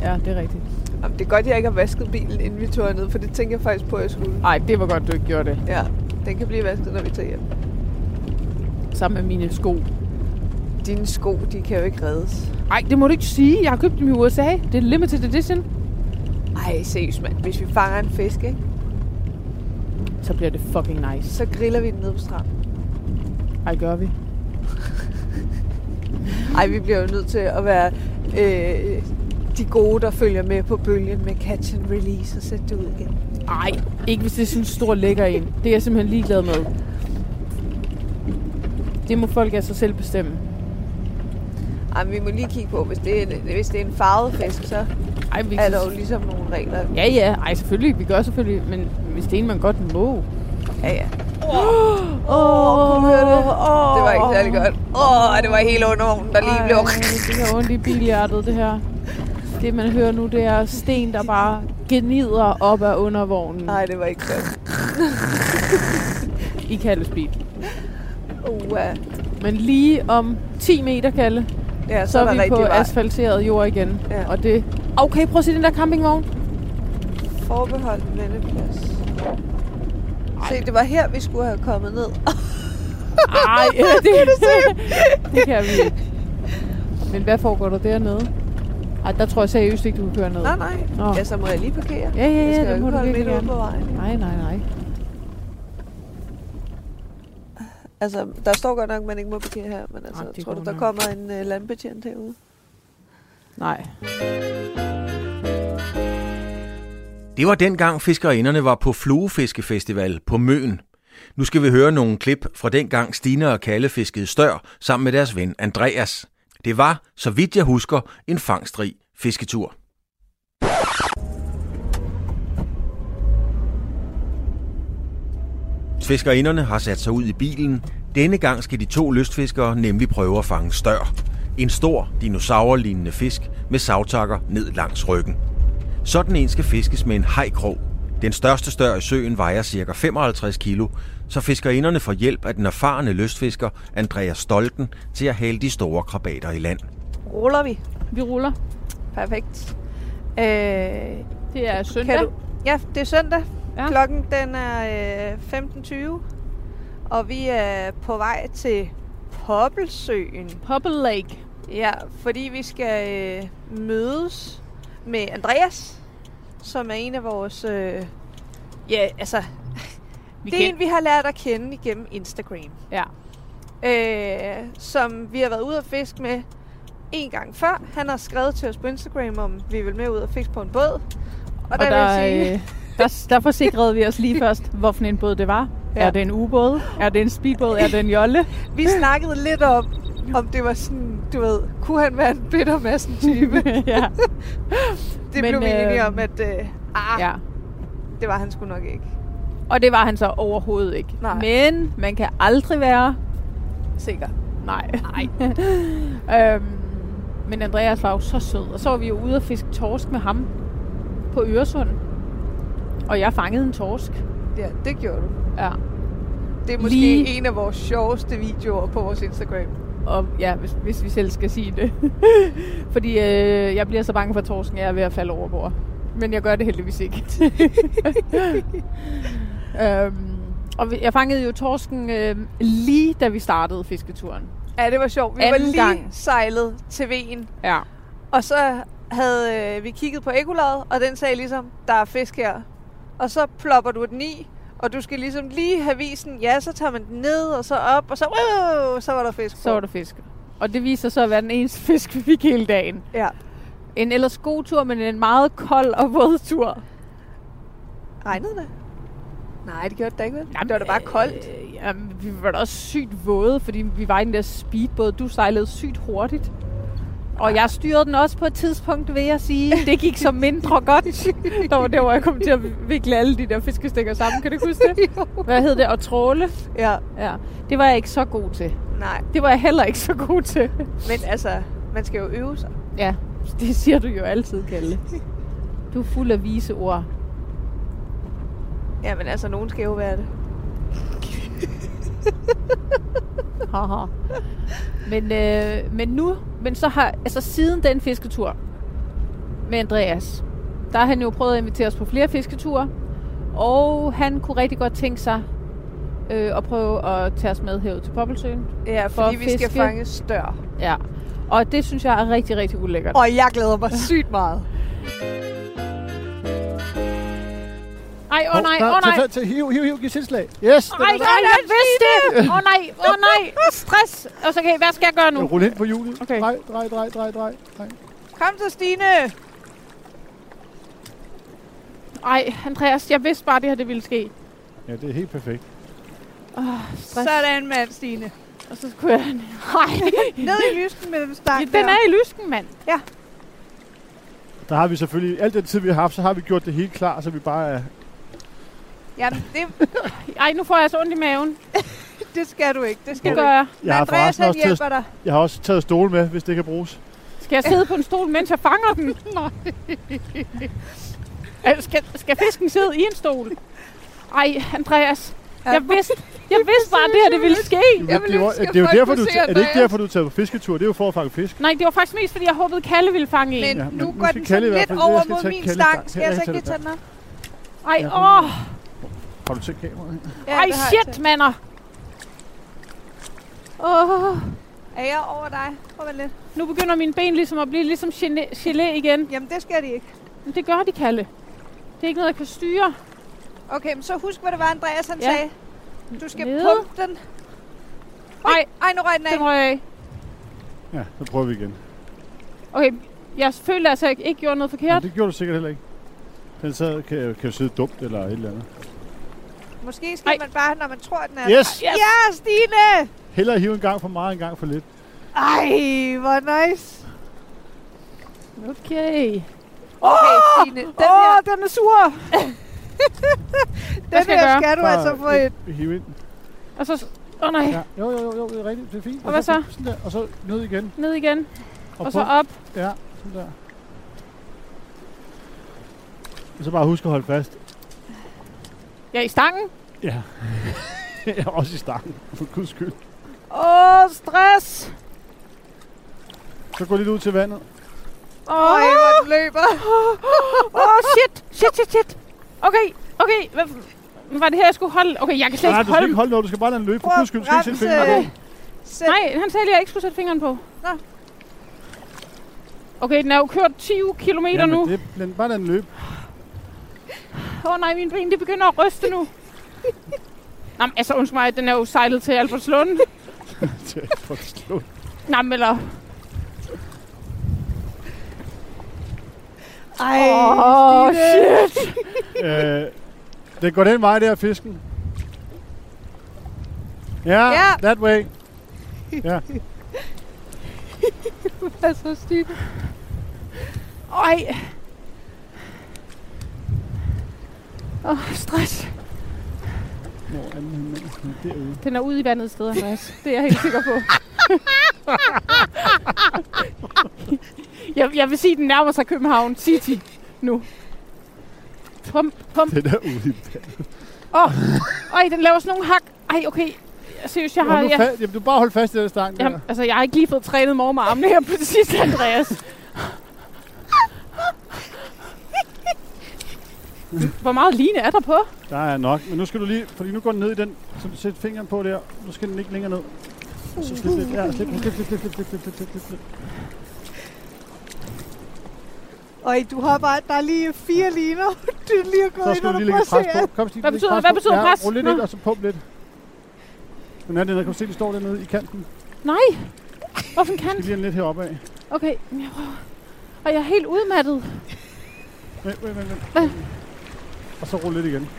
B: Ja, det er rigtigt.
E: Jamen, det er godt, jeg ikke har vasket bilen, inden vi tog ned, for det tænker jeg faktisk på, at jeg skulle.
B: Nej, det var godt, du ikke gjorde det.
E: Ja, den kan blive vasket, når vi tager hjem.
B: Sammen med mine sko.
E: Dine sko, de kan jo ikke reddes.
B: Nej, det må du ikke sige. Jeg har købt dem i USA. Det er limited edition.
E: Ej, seriøst, mand. Hvis vi fanger en fisk, ikke?
B: Så bliver det fucking nice.
E: så griller vi den ned på stranden.
B: Ej, gør vi.
E: Ej, vi bliver jo nødt til at være øh, de gode, der følger med på bølgen med catch and release og sætte det ud igen.
B: Ej, ikke hvis det er sådan en stor lækker en. Det er jeg simpelthen ligeglad med. Det må folk altså selv bestemme.
E: Ej, men vi må lige kigge på, hvis det er en, hvis det er en farvet fisk, så
B: Ej, vi
E: er der jo ligesom nogle regler.
B: Ja, ja. Ej, selvfølgelig. Vi gør selvfølgelig. Men hvis det er en, man godt må.
E: Ja, ja.
B: Åh, oh, høre det. Oh,
E: Det var ikke særlig godt. Åh, oh, det var hele undervognen, der lige blev...
B: det her ondt i bilhjertet, det her. Det, man hører nu, det er sten, der bare gnider op af undervognen
E: Nej, det var ikke godt.
B: i Kalles bil.
E: Uh, ja,
B: Men lige om 10 meter, Kalle,
E: ja så,
B: så er vi
E: rigtig
B: på
E: vej.
B: asfalteret jord igen.
E: Ja.
B: Og det... Okay, prøv at se den der campingvogn.
E: Forbeholdt vendeplads. Se, det var her, vi skulle have kommet ned. [LAUGHS]
B: Ej, [LAUGHS] ja, det, [LAUGHS] det kan vi ikke. Men hvad foregår der dernede? Ej, der tror jeg seriøst ikke, du kan køre ned.
E: Nej, nej.
B: Nå.
E: Ja, så må jeg lige parkere.
B: Ja, ja,
E: Jeg
B: ja,
E: skal jo
B: det må
E: ikke
B: du
E: holde
B: virkelig
E: midt ude
B: gerne.
E: på vejen.
B: Nej, nej, nej.
E: Altså, der står godt nok, at man ikke må parkere her, men altså,
B: Ej, det
E: tror du,
B: går
E: der
B: nok.
E: kommer en uh, landbetjent herude?
B: Nej.
C: Det var dengang fiskerinderne var på fluefiskefestival på Møn. Nu skal vi høre nogle klip fra dengang Stine og Kalle fiskede stør sammen med deres ven Andreas. Det var, så vidt jeg husker, en fangstrig fisketur. Fiskerinderne har sat sig ud i bilen. Denne gang skal de to lystfiskere nemlig prøve at fange stør. En stor, dinosaurlignende fisk med savtakker ned langs ryggen. Sådan en skal fiskes med en hajkrog. Den største stør i søen vejer ca. 55 kilo, så fiskerinderne får hjælp af den erfarne lystfisker Andreas Stolten til at hale de store krabater i land.
A: Ruller vi.
B: Vi ruller.
A: Perfekt. Øh,
B: Det er søndag.
A: Kan du? Ja, det er søndag.
B: Ja.
A: Ja. Klokken den er øh, 15.20. Og vi er på vej til Poppelsøen.
B: Purple Lake.
A: Ja, fordi vi skal øh, mødes med Andreas, som er en af vores... Øh, ja, altså...
B: Vi
A: [LAUGHS] Vi det er en, vi har lært at kende igennem Instagram.
B: Ja.
A: Øh, som vi har været ude at fiske med en gang før. Han har skrevet til os på Instagram, om vi vil med ud og fiske på en båd. Og,
B: Og der, der,
A: vil jeg sige,
B: øh, der, der forsikrede vi os
A: [LAUGHS]
B: lige først, hvorfor en båd det var. Ja.
A: Ja.
B: Er det en ubåd? Er det en speedbåd? Er det en
A: [LAUGHS]
B: jolle?
A: vi snakkede lidt om, om det var sådan, du ved, [LAUGHS] kunne han være en bitter massen type?
B: [LAUGHS] ja.
A: Det Men,
B: Men,
A: blev vi enige
B: øh,
A: om, at øh, Ah, ja.
B: Ja.
A: det var han sgu nok ikke.
B: Og det var han så overhovedet ikke.
A: Nej.
B: Men man kan aldrig være
A: Sikker.
B: Nej. Nej. [LAUGHS] øhm, men Andreas var jo så sød. Og så var vi jo ude og fiske torsk med ham på Øresund. Og jeg fangede en torsk.
A: Ja, det gjorde du.
B: Ja.
A: Det er måske
B: Lige-
A: en af vores sjoveste videoer på vores Instagram.
B: Og ja, hvis, hvis vi selv skal sige det. [LAUGHS] Fordi øh, jeg bliver så bange for torsken, jeg er ved at falde over bord. Men jeg gør det heldigvis ikke. øhm, og vi- jeg fangede jo torsken øh, lige da vi startede fisketuren.
A: Ja, det var sjovt. Vi var
B: Anden
A: lige
B: gang.
A: sejlet til vejen,
B: Ja.
A: og så havde øh, vi kigget på ekolaget, og den sagde ligesom, der er fisk her. Og så plopper du den i, og du skal ligesom lige have visen. Ja, så tager man den ned, og så op, og så, wow, så var der fisk på.
B: Så var der fisk. Og det viser sig så at være den eneste [LAUGHS] fisk, vi fik hele dagen.
A: Ja.
B: En ellers god tur, men en meget kold og våd tur.
A: Regnede det? Nej, det gjorde det da ikke, vel?
B: Jamen,
A: det var da bare koldt.
B: Øh, jamen, vi var da også sygt våde, fordi vi var i den der speedbåd. Du sejlede sygt hurtigt. Og jeg styrede den også på et tidspunkt, vil jeg sige. Det gik så
A: [LAUGHS]
B: mindre godt. Der var der, hvor jeg kom til at vikle alle de der fiskestikker sammen. Kan du huske det? Hvad hed det? At tråle?
A: Ja,
B: Ja. Det var jeg ikke så god til.
A: nej.
B: Det var jeg heller ikke så god til.
A: Men altså, man skal jo øve sig.
B: Ja, det siger du jo altid, Kalle. Du er fuld af vise ord.
A: Ja, men altså, nogen skal jo være det.
B: Haha. men, øh, men nu, men så har, altså siden den fisketur med Andreas, der har han jo prøvet at invitere os på flere fisketure, og han kunne rigtig godt tænke sig øh, at prøve at tage os med herud til Poppelsøen.
A: Ja,
B: For
A: fordi
B: at
A: vi skal
B: fiske.
A: fange større.
B: Ja. Og det synes jeg er rigtig, rigtig ulækkert.
A: Og jeg glæder mig sygt meget.
B: Ej, åh oh, nej, åh oh, nej.
G: Til, til, hiv, hiv, hiv, giv tilslag. Yes,
B: Nej, nej, jeg vidste det! Åh oh, nej, åh oh, nej, stress! Og så, okay, hvad skal jeg gøre nu?
G: den rulle ind på hjulet.
B: Okay.
G: Drej, drej, drej, drej, drej. drej.
A: Kom så, Stine!
B: Ej, Andreas, jeg vidste bare, det her det ville ske.
G: Ja, det er helt perfekt.
B: Stress.
A: Sådan, mand, Stine.
B: Og så skulle jeg... [LAUGHS] Nej,
A: Ned i lysken med den stang
B: den er i lysken, mand.
G: Der har vi selvfølgelig, alt den tid vi har haft, så har vi gjort det helt klar, så vi bare er...
A: Jamen, det,
B: Ej, nu får jeg så ondt i maven.
A: det skal du ikke. Det skal
B: Det
A: du
B: gør
A: ikke.
B: jeg.
G: Jeg har,
A: Andreas,
G: forresten
A: han
G: også taget,
A: hjælper dig.
G: jeg har også taget stole med, hvis det kan bruges.
B: Skal jeg sidde på en stol, mens jeg fanger den? Nej. Øh, Skal, skal fisken sidde i en stol? Ej, Andreas. Jeg vidste, jeg vidste bare, at det her det ville ske.
A: Jeg vil
G: det, er jo-
A: ønske, at
G: det er jo
A: folk
G: derfor,
A: kunne
G: du,
A: se
G: er det ikke
A: Andreas.
G: derfor, du er taget på fisketur? Det er jo for at fange fisk.
B: Nej, det var faktisk mest, fordi jeg håbede, Kalle ville fange
A: Men
B: en.
G: Ja, men
A: nu
G: nu
A: går
G: skal
A: den
G: Kalle
A: sådan
G: i hvert
A: lidt
G: fald-
A: over
G: jeg skal
A: mod
G: tage
A: min
G: Kalle
A: stang.
G: stang.
A: Skal jeg
G: Her
A: så
G: er
A: ikke lige
G: den
A: tage den op?
B: Ej, åh.
G: Har du tændt kameraet?
A: Ja,
B: Ej,
A: det har jeg
B: shit, mander. Åh,
A: taget. Er jeg over dig? Prøv at lidt.
B: nu begynder mine ben ligesom at blive ligesom gene- gelé igen.
A: Jamen, det skal de ikke.
B: Men det gør de, Kalle. Det er ikke noget, jeg kan styre.
A: Okay, men så husk, hvad det var, Andreas han
B: Ja.
A: sagde. Du skal
B: Nede.
A: pumpe den.
B: Ej,
A: Ej, nu røg den af.
B: den røg af.
G: Ja, så prøver vi igen.
B: Okay, jeg føler altså, at jeg ikke gjorde noget
G: Men
B: forkert.
G: det gjorde du sikkert heller ikke. Den så kan, kan jo sidde dumt eller et eller andet.
A: Måske skal
B: Ej.
A: man bare, når man tror, den er...
G: Yes!
B: Yes.
A: Ja, Stine!
G: Hellere hive en gang for meget, en gang for lidt.
A: Ej, hvor nice.
B: Okay.
A: Okay, Stine. Den her,
F: Åh, den er
A: [LAUGHS]
F: sur!
A: den
B: skal jeg
A: her
B: gøre?
A: skal du altså få et...
G: øh, Hive ind.
B: Og så... Åh oh, nej,
G: Ja. Jo, jo, jo, jo, det er rigtigt. Det er fint.
B: Og hvad så?
G: Sådan der, og så ned igen.
B: ned igen. Og, så
G: på.
B: op.
G: Ja, sådan der. Og så bare husk at holde fast.
B: Ja, i stangen.
G: Ja. ja også i starten, for guds skyld.
B: Åh, oh, stress.
G: Så gå lidt ud til vandet.
B: Åh, oh,
A: Ej, hvor den løber.
B: oh, shit. Shit, shit, shit. Okay, okay. Hvad f- var det her, jeg skulle holde? Okay, jeg kan slet
G: Nej,
B: ikke
G: du skal
B: holde.
G: ikke holde noget. Du skal bare lade den løbe, for
A: Prøv
G: guds skyld. Du skal ikke sætte fingeren
A: bremse.
G: på. den.
A: Sæt
B: Nej, han sagde lige, at jeg ikke skulle sætte fingeren på.
A: Nå.
B: Okay, den er jo kørt 10 km
G: Ja, men
B: nu. Åh
G: det, lad, bare lad den løbe.
B: oh, nej, mine ben det begynder at ryste nu. Nå, men altså, undskyld mig, den er jo sejlet til Albertslund.
G: Til at få den slået.
B: Nå, men eller...
A: Ej,
B: Åh, oh, shit.
G: øh, den går den vej der, fisken. Ja,
A: Ja.
G: that way.
A: altså Stine.
B: Ej. Åh, oh, stress.
G: Hvor er den henne? Den er Derude.
B: Den er ude i vandet et sted, Andreas. Det er jeg helt sikker på. jeg, jeg vil sige, at den nærmer sig København City nu. Pump, pump.
G: Den er ude i vandet.
B: Åh, oh. Øj, den laver sådan nogle hak. Ej, okay. Seriøst, jeg har...
G: Hold nu
B: Jeg,
G: fast- Jamen, du bare hold fast i den stang der.
B: jeg, altså, jeg har ikke lige fået trænet mor med armene her på det sidste, Andreas. Hvor meget line er der på?
G: Der er nok. Men nu skal du lige, fordi nu går den ned i den, så du sætter fingeren på der. Nu skal den ikke længere ned. Så slip lidt. Ja, slip, slip, slip, slip, slip, slip, slip, slip, slip, slip.
H: Og du har bare, der er lige fire liner. Du er lige
G: Så
H: gået ind
G: skal du
H: og
G: lige lægge et pres på. Kom, Stine,
B: Hvad
G: læg
B: betyder-
G: pres
B: hvad
G: på.
B: betyder
G: ja,
B: pres?
G: Rul lidt
B: Nå.
G: ind, og så pump lidt. Den er den, der kan du se, de står dernede i kanten.
B: Nej. Hvorfor en
G: Vi
B: kant?
G: lige en lidt heroppe af.
B: Okay, men jeg prøver. Og jeg er helt udmattet.
G: Vent, vent, vent,
B: Hvad?
G: vent. Og så rul lidt igen.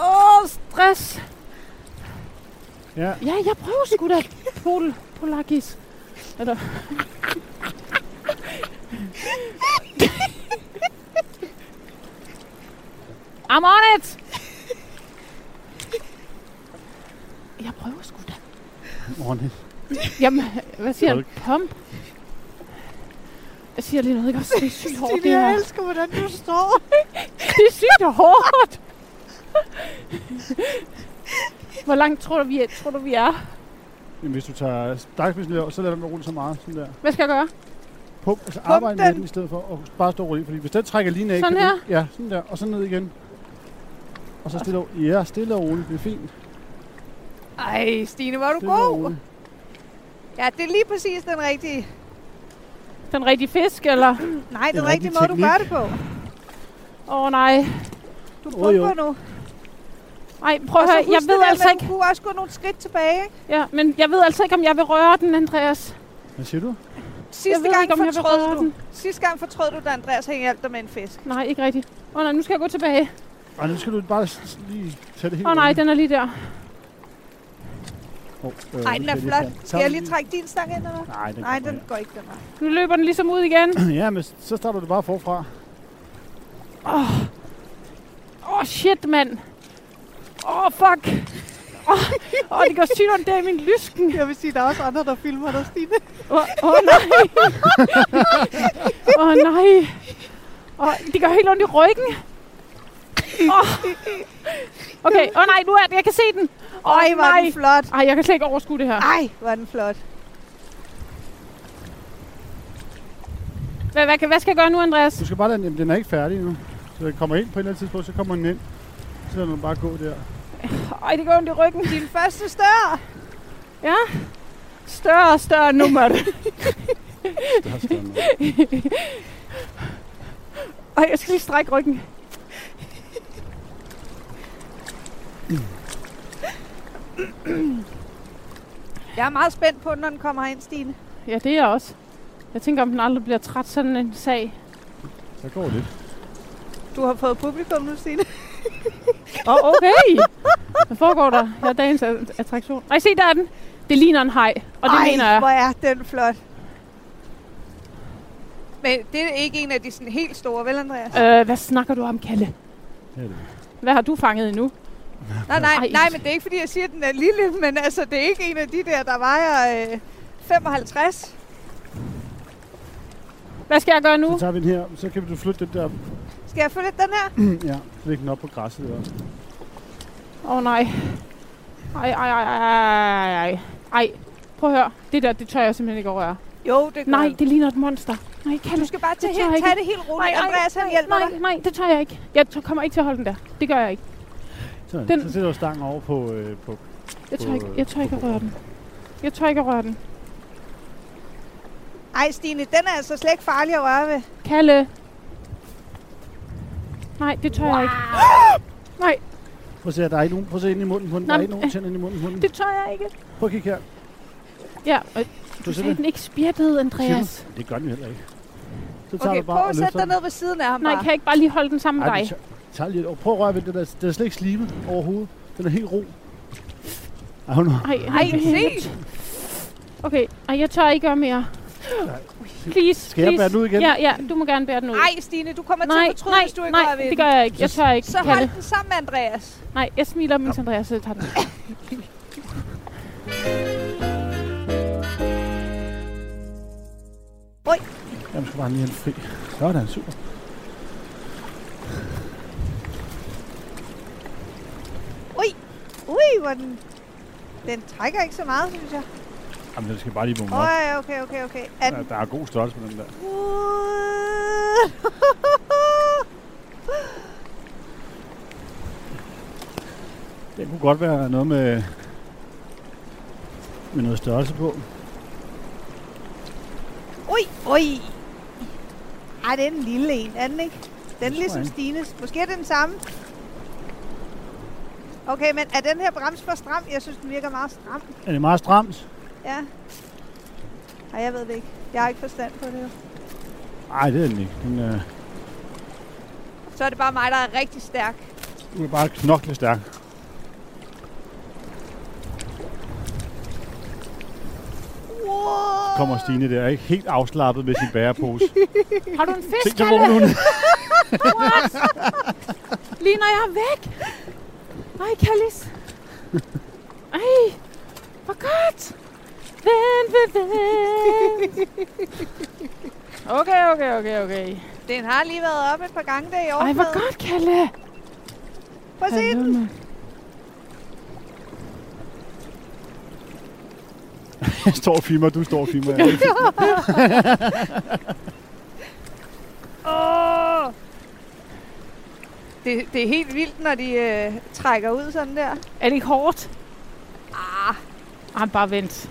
B: Åh, oh, stress.
G: Ja,
B: Ja, jeg prøver sgu da pol, polakis. Eller... I'm on it! Jeg prøver sgu da.
G: ordentligt.
B: Jamen, hvad siger han?
G: Tryk.
B: Pump? Jeg siger lige noget, ikke også? Det er sygt hårdt, det
H: Stine, jeg
B: her.
H: elsker, hvordan du står.
B: Det er sygt hårdt. Hvor langt tror du, vi er? Tror du, vi er?
G: Jamen, hvis du tager stakspidsen lidt over, så lad være med at rulle så meget. Sådan der.
B: Hvad skal jeg gøre?
G: Pump, altså arbejde med
H: den.
G: den i stedet for at bare stå og rulle i, fordi hvis den trækker lige af...
B: Sådan
G: kan
B: her?
G: Du, ja, sådan der, og så ned igen. Og så stille og, ja, stille og roligt, det er fint.
A: Ej, Stine, var du
G: Stille og
A: god.
G: roligt.
A: Ja, det er lige præcis den rigtige.
B: Den rigtige fisk, eller?
A: Nej, den,
G: Den
A: den rigtige
G: rigtige
A: måde, du
G: teknik.
A: gør det på.
B: Åh oh, nej.
A: Du
G: Jo, jo.
A: pumper nu.
B: Nej,
A: Og
B: prøv at
A: så
B: høre.
A: husk
B: Jeg
A: det
B: ved
A: der
B: altså
A: med,
B: ikke.
A: Du kunne også gå nogle skridt tilbage. ikke?
B: Ja, men jeg ved altså ikke, om jeg vil røre den, Andreas.
G: Hvad siger du?
B: Jeg
A: Sidste
B: ved
A: gang
B: ikke, om jeg vil
A: fortrød
B: røre
A: du.
B: den.
A: Sidste gang fortrød du, da Andreas havde hjalp dig med en fisk.
B: Nej, ikke rigtigt. Åh oh, nej, nu skal jeg gå tilbage.
G: Ej, nu skal du bare s- s- lige tage det helt
B: Åh oh, nej,
G: roligt.
B: den er lige der.
G: Hov, øh,
A: Nej,
G: nu
A: den er
G: skal jeg lige tage
A: flot. Skal jeg lige
G: Tag
A: trække din stang ind, eller
G: den lige. Nej, den
A: Nej,
G: kommer
A: den går ikke den vej.
B: Nu løber den ligesom ud igen.
G: her. [CLEARS THROAT] Ja, men så starter du bare forfra.
B: Åh, oh, shit, mand. Åh, oh, fuck. Åh, oh, oh, det går sygt ondt der i min lysken.
H: Jeg vil sige, der er også andre, der filmer dig, Stine.
B: Åh, oh, oh, nej. Åh, oh, nej. Åh, oh, det gør helt ondt i ryggen. Oh. Okay, åh oh, nej, nu er det. Jeg kan se den. Åh, oh,
A: Ej, hvor er
B: nej.
A: den flot.
B: Ej, jeg kan slet ikke overskue det her.
A: Ej, hvor er den flot.
B: Hvad, hvad, hvad skal jeg gøre nu, Andreas?
G: Du skal bare lade den, jamen, den er ikke færdig nu. Så den kommer ind på et eller andet tidspunkt, så kommer den ind. Så lader du den bare gå der.
B: Ej, det går ondt i ryggen.
A: Din første større.
B: Ja. Større og større nummer.
G: Det har sådan noget.
B: Ej, jeg skal lige strække ryggen.
A: Jeg er meget spændt på, når den kommer herind, Stine.
B: Ja, det er jeg også. Jeg tænker, om den aldrig bliver træt sådan en sag.
G: Der går lidt.
A: Du har fået publikum nu, Stine.
B: Åh, oh, okay. Hvad foregår der? Jeg er dagens at- attraktion. Ej, se, der er den. Det ligner en hej, og det
A: Ej,
B: Ej, mener jeg.
A: hvor er den flot. Men det er ikke en af de sådan helt store, vel Andreas?
B: Øh, hvad snakker du om, Kalle?
G: Ja, det er.
B: Hvad har du fanget endnu?
A: nej, nej,
B: Ej.
A: nej, men det er ikke fordi, jeg siger, at den er lille, men altså, det er ikke en af de der, der vejer øh, 55.
B: Hvad skal jeg gøre nu?
G: Så tager vi den her, så kan du flytte den der. [CLEARS THROAT]
A: Skal jeg følge den her?
G: ja, lægge den op på græsset også.
B: Åh, oh, nej. Ej, ej, ej, ej, ej, ej. Ej, prøv at høre. Det der, det tør jeg simpelthen ikke overrøre.
A: Jo, det går.
B: Nej, det ligner et monster. Nej, Kalle,
A: Du skal bare tage,
B: Det tør jeg
A: helt,
B: ikke.
A: tage det helt roligt.
B: Nej, nej,
A: Andreas, han hjælper
B: nej,
A: dig.
B: nej, det tør jeg ikke. Jeg tør- kommer ikke til at holde den der. Det gør jeg ikke.
G: Sådan.
B: Den-
G: Den. Så sætter du stangen over på, øh, på
B: Jeg tør
G: På,
B: ikke,
G: øh,
B: jeg tør
G: på
B: ikke at
G: bordet.
B: røre den. Jeg tør ikke at røre den.
A: Ej, Stine, den er altså slet ikke farlig at røre ved.
B: Kalle. Nej, det tør jeg ikke. Nej,
G: Prøv at se, her, der er ikke nogen. Prøv at se ind i munden på den. Der
B: Nej,
G: er
B: men-
G: ikke nogen tænder ind i munden på den.
B: det tør jeg ikke.
G: Prøv at kigge her.
B: Ja, øh,
G: Du
B: du
G: ser
B: sagde
G: det?
B: den ikke spjættede, Andreas.
G: Siger du? Det gør den heller ikke. Så tager
A: Okay,
G: du bare
A: prøv
G: og
A: at
G: løfter
A: sætte dig
G: den.
A: ned ved siden af ham
B: Nej,
A: bare.
B: kan jeg ikke bare lige holde den sammen med
G: Ej,
B: dig?
G: det tør- tager lige over. Prøv at røre ved det der. Den er slet ikke slimet overhovedet. Den er helt ro. Ej, hun
B: Ej,
A: Ej, se!
B: Okay, ej, jeg tør ikke gøre mere. Please,
G: Skal jeg
B: please.
G: bære den ud igen?
B: Ja, ja, du må gerne bære den ud.
A: Nej, Stine, du kommer til
B: nej,
A: at fortryde,
B: nej,
A: hvis du ikke
B: nej,
A: rører ved
B: det
A: den.
B: gør jeg ikke. Jeg tør ikke,
A: Så
B: Kalle.
A: hold den sammen, Andreas.
B: Nej, jeg smiler, mens Andreas selv tager den.
G: Jamen, skal bare lige have den fri. Sådan, super.
A: Ui, hvor den... Den trækker ikke så meget, synes jeg.
G: Jamen, den skal bare lige bunge
A: Åh,
G: op.
A: ja, okay, okay, okay. Er
G: Der,
A: den...
G: der er god størrelse på den der. Den kunne godt være noget med, med noget størrelse på.
A: [LAUGHS] Ui, ui. Ej, det er en lille en, er den ikke? Den er
G: tror
A: ligesom
G: jeg.
A: Stines. Måske er det den samme. Okay, men er den her brems for stram? Jeg synes, den virker meget stram.
G: Er det meget stramt?
A: Ja. Ej, jeg ved det ikke. Jeg har ikke forstand på det. jo.
G: Nej, det er den ikke. Den, øh,
A: Så er det bare mig, der er rigtig stærk.
G: du er bare knokle stærk.
A: Wow.
G: Kommer Stine der, ikke helt afslappet med sin
A: [LAUGHS]
G: bærepose.
B: Har du en fisk,
G: Tænk, så
B: Kalle?
G: vågner hun. [LAUGHS]
B: Lige når jeg er væk. Ej, Kallis. Ej, hvor godt. Vent, vent, vent. Okay, okay, okay, okay.
A: Den har lige været op et par gange der i år.
B: Ej, hvor godt, Kalle.
A: Prøv at se den.
B: Hallo, mand.
G: Jeg står og filmer, du står og filmer. Jeg er ikke-
A: Åh! Det, det er helt vildt, når de øh, trækker ud sådan der.
B: Er det ikke hårdt? Ah. Ej, bare vent.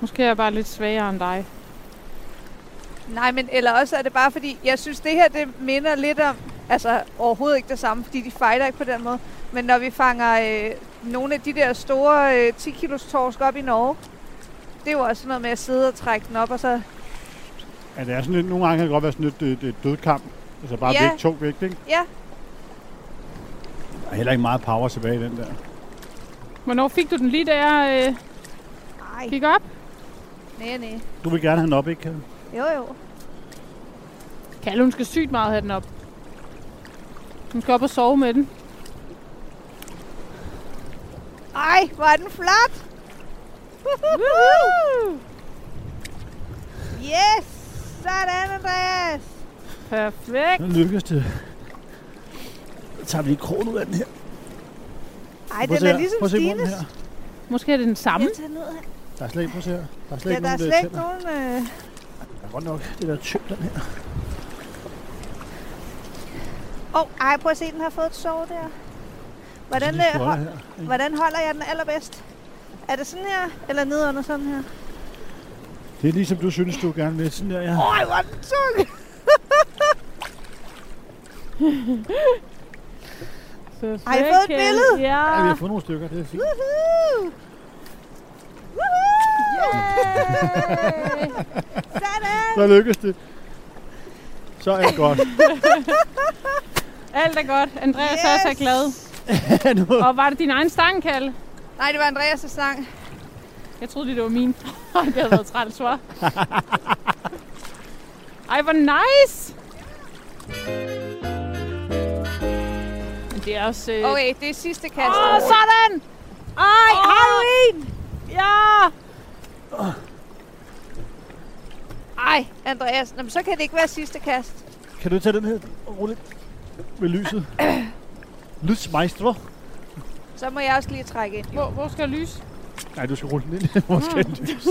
B: Måske er jeg bare lidt svagere end dig.
A: Nej, men eller også er det bare fordi, jeg synes det her, det minder lidt om, altså overhovedet ikke det samme, fordi de fighter ikke på den måde, men når vi fanger øh, nogle af de der store øh, 10 kilos torsk op i Norge, det er jo også sådan noget med at sidde og trække den op, og så,
G: Ja, det er sådan lidt, nogle gange kan det godt være sådan lidt øh, øh, dødkamp. Altså bare
A: Ja.
G: vægt, tung vægt, ikke?
A: ja,
G: Der er heller ikke meget power tilbage i den der.
B: Hvornår fik du den lige, da jeg øh,
A: nej,
B: gik op?
A: nej, nej,
G: Du vil gerne have den op, ikke? Kalle?
A: jo jo.
B: Kalle, hun skal sygt meget have den op. Hun skal op og sove med den.
A: Ej, hvor er den flot! Woohoo! yes! Sådan, Andreas!
B: Perfekt.
G: Nu lykkes det. Så tager vi lige krogen ud af den her.
A: Ej,
G: Prøv
A: den
G: at se
A: er
G: her.
A: ligesom
G: Prøv at se munden
A: Stines.
G: her.
B: Måske er det den samme.
A: Jeg tager ned her.
G: Der er slet ikke, prøv at se her. Der er slet
A: Ja,
G: Hmm?
A: der
G: ikke
A: er
G: nogen
A: slet ikke
G: tænder.
A: nogen... Øh...
G: Der er godt nok det der tynd, den her.
A: Åh, oh, ej, prøv at se, den har fået et sår der. Hvordan,
G: Lige
A: øh,
G: skåler
A: hold,
G: her.
A: hvordan holder jeg den allerbedst? Er det sådan her, eller ned under sådan her?
G: Det er ligesom du synes, du gerne vil. Sådan der, ja.
A: Ej, hvor er den tung! Har I fået et billede?
B: Ja.
G: ja, vi har fået nogle stykker. Det er fint.
A: Woohoo! Woohoo! Sådan!
G: Så lykkes det. Så er det
A: [LAUGHS]
G: godt.
B: Alt er godt. Andreas yes. også er glad.
G: Ja, nu.
B: Og var det din egen stang, Kalle?
A: Nej, det var Andreas' sang.
B: Jeg troede lige, det var min. [LAUGHS] Ej, det havde været træls, hva'? Ej, hvor nice! Men det er også... Øh...
A: Okay, det er sidste kast.
B: Åh, oh, sådan! Ej, oh. har du en? Ja!
A: Ej, Andreas, Nå, men så kan det ikke være sidste kast.
G: Kan du tage den her roligt med lyset? Lysmeister.
A: Så må jeg også lige trække ind.
B: Hvor, hvor skal jeg lyse?
G: Nej, du skal rulle den ind. [LAUGHS] Hvor skal den
A: Mm.
G: lyse?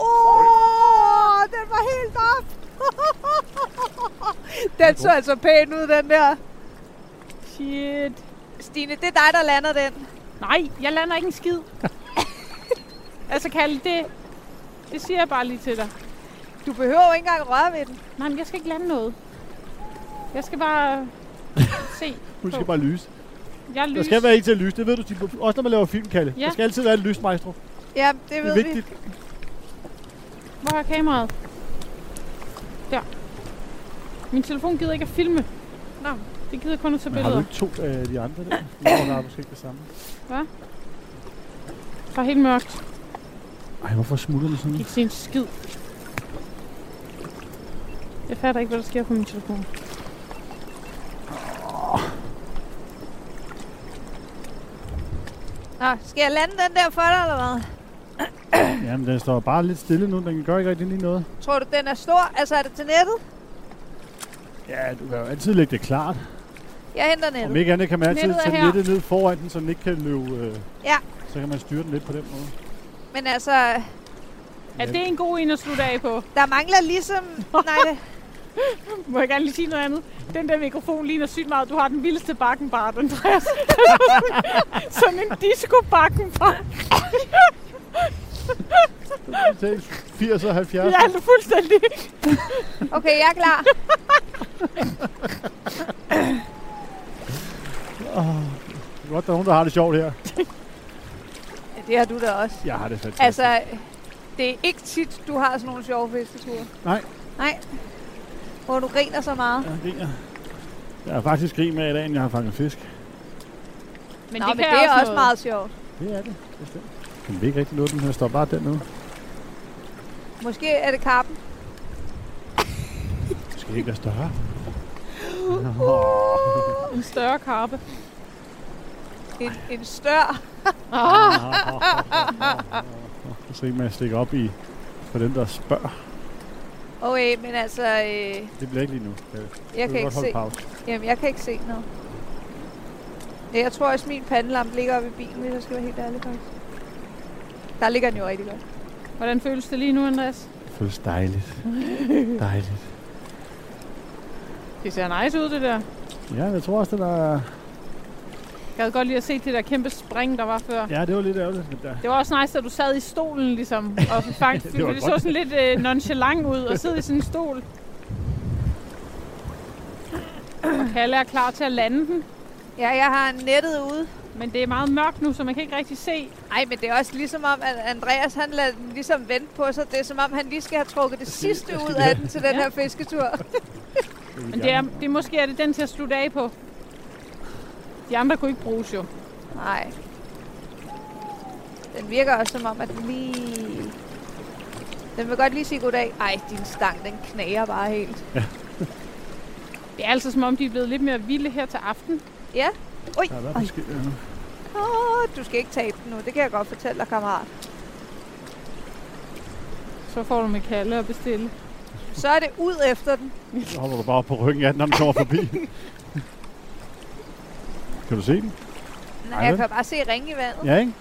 A: Åh, den var helt op! [LAUGHS] den så altså pæn ud, den der.
B: Shit.
A: Stine, det er dig, der lander den.
B: Nej, jeg lander ikke en
A: [LAUGHS]
B: skid. altså, Kalle, det, det siger jeg bare lige til dig.
A: Du behøver jo ikke engang røre ved den.
B: Nej, men jeg skal ikke lande noget. Jeg skal
G: [LAUGHS]
B: bare se.
G: Du skal bare lyse.
B: Jeg
G: Der
B: lyser.
G: skal være en til at lyse. Det ved du, Stine. også når man laver film, Kalle.
B: Ja.
G: Der skal altid være en lysmeister. Det
A: Ja, det
G: er
A: ved vi.
G: vigtigt.
B: Hvor er kameraet? Der. Min telefon gider ikke at filme.
A: Nå.
B: Det gider kun at tage
G: Men har du
B: billeder.
G: ikke to af de andre der? Nå, der er måske ikke det samme.
B: Så er helt mørkt.
G: Ej, hvorfor smutter den sådan?
B: Ikke se en skid. Jeg fatter ikke, hvad der sker på min telefon.
A: Nå, skal jeg lande den der for dig, eller hvad?
G: Jamen, den står bare lidt stille nu. Den gør ikke rigtig lige noget.
A: Tror du, den er stor? Altså, er det til nettet?
G: Ja, du kan jo altid lægge det klart.
A: Jeg henter
G: Om
A: nettet.
G: ikke andet kan man altid
A: Nettet er
G: tage
A: her.
G: nettet ned foran den, så den ikke kan løbe... Øh,
A: Ja.
G: Så kan man styre den lidt på den måde.
A: Men altså,
B: Er det en god en at slutte af på?
A: der mangler ligesom... [LAUGHS] Nej, det...
B: Må jeg gerne lige sige noget andet? Den der mikrofon ligner sygt meget. Du har den vildeste bakkenbar, den
G: [LAUGHS]
B: drejer sig. Sådan en disco-bakkenbar.
G: Det er 80 og 70.
B: Ja, du er fuldstændig.
A: Okay, jeg er klar.
G: Godt, der er nogen, der har det sjovt her.
A: Ja, det har du da også.
G: Jeg har det fantastisk.
A: Altså, det er ikke tit, du har sådan nogle sjove fisketure.
G: Nej.
A: Nej. Hvor du griner så meget.
G: Jeg griner. Jeg har faktisk grin med i dag, end jeg har fanget fisk.
B: Men
A: Nå, men det er også meget sjovt.
G: Det er det. Bestemt. Kan vi ikke rigtig nå den her? Står bare dernede.
A: Måske er det kappen.
G: Det skal ikke være
A: [LAUGHS]
G: større.
B: En større karpe.
A: En, en større.
G: Så se, man stikker op i for dem, der spørger.
A: Okay, men altså, øh,
G: Det bliver ikke lige nu. Jeg,
A: jeg kan ikke se.
G: Pause.
A: Jamen, jeg kan ikke se noget. Ja, Jeg tror også, min pandelampe ligger oppe i bilen, hvis jeg skal være helt ærlig faktisk. Der ligger den jo rigtig godt.
B: Hvordan føles det lige nu, Andreas?
G: Det føles
B: [LAUGHS]
G: dejligt. dejligt.
B: Det ser nice ud, det der.
G: Ja, jeg tror også, det var...
B: Jeg havde godt lige at se det der kæmpe spring, der var før.
G: Ja, det var lidt ærgerligt. Men der...
B: Det var også nice, at du sad i stolen ligesom, og fang,
G: Det
B: det,
G: var
B: det så
G: godt.
B: sådan lidt øh, nonchalant ud og sidde i sådan en stol. Og Kalle er klar til at lande den,
A: Ja, jeg har nettet ude.
B: men det er meget mørkt nu, så man kan ikke rigtig se.
A: Ej, men det er også ligesom om, at Andreas han lader den ligesom vente på sig. Det er som om, han lige skal have trukket det sidste ud af den til den
B: Ja.
A: her fisketur.
B: Men det er, det er måske er det den til at slutte af på. De andre kunne ikke bruges jo.
A: Nej. Den virker også som om, at den lige... Den vil godt lige sige goddag. Ej, din stang, den knager bare helt.
B: Det er altså som om, de er blevet lidt mere vilde her til aften.
G: Der er i hvert fald skidt her nu.
A: Åh, du skal ikke tabe den nu. Det kan jeg godt fortælle dig, kammerat.
B: Så får du med Kalle at bestille.
A: Så er det ud efter den.
G: Så hopper du bare op på ryggen af den, når den kommer
B: [LAUGHS]
G: forbi. kan du se den?
A: Nej,
G: Ej,
A: jeg
G: vel?
A: kan bare se ringe i vandet.
G: Ja, ikke?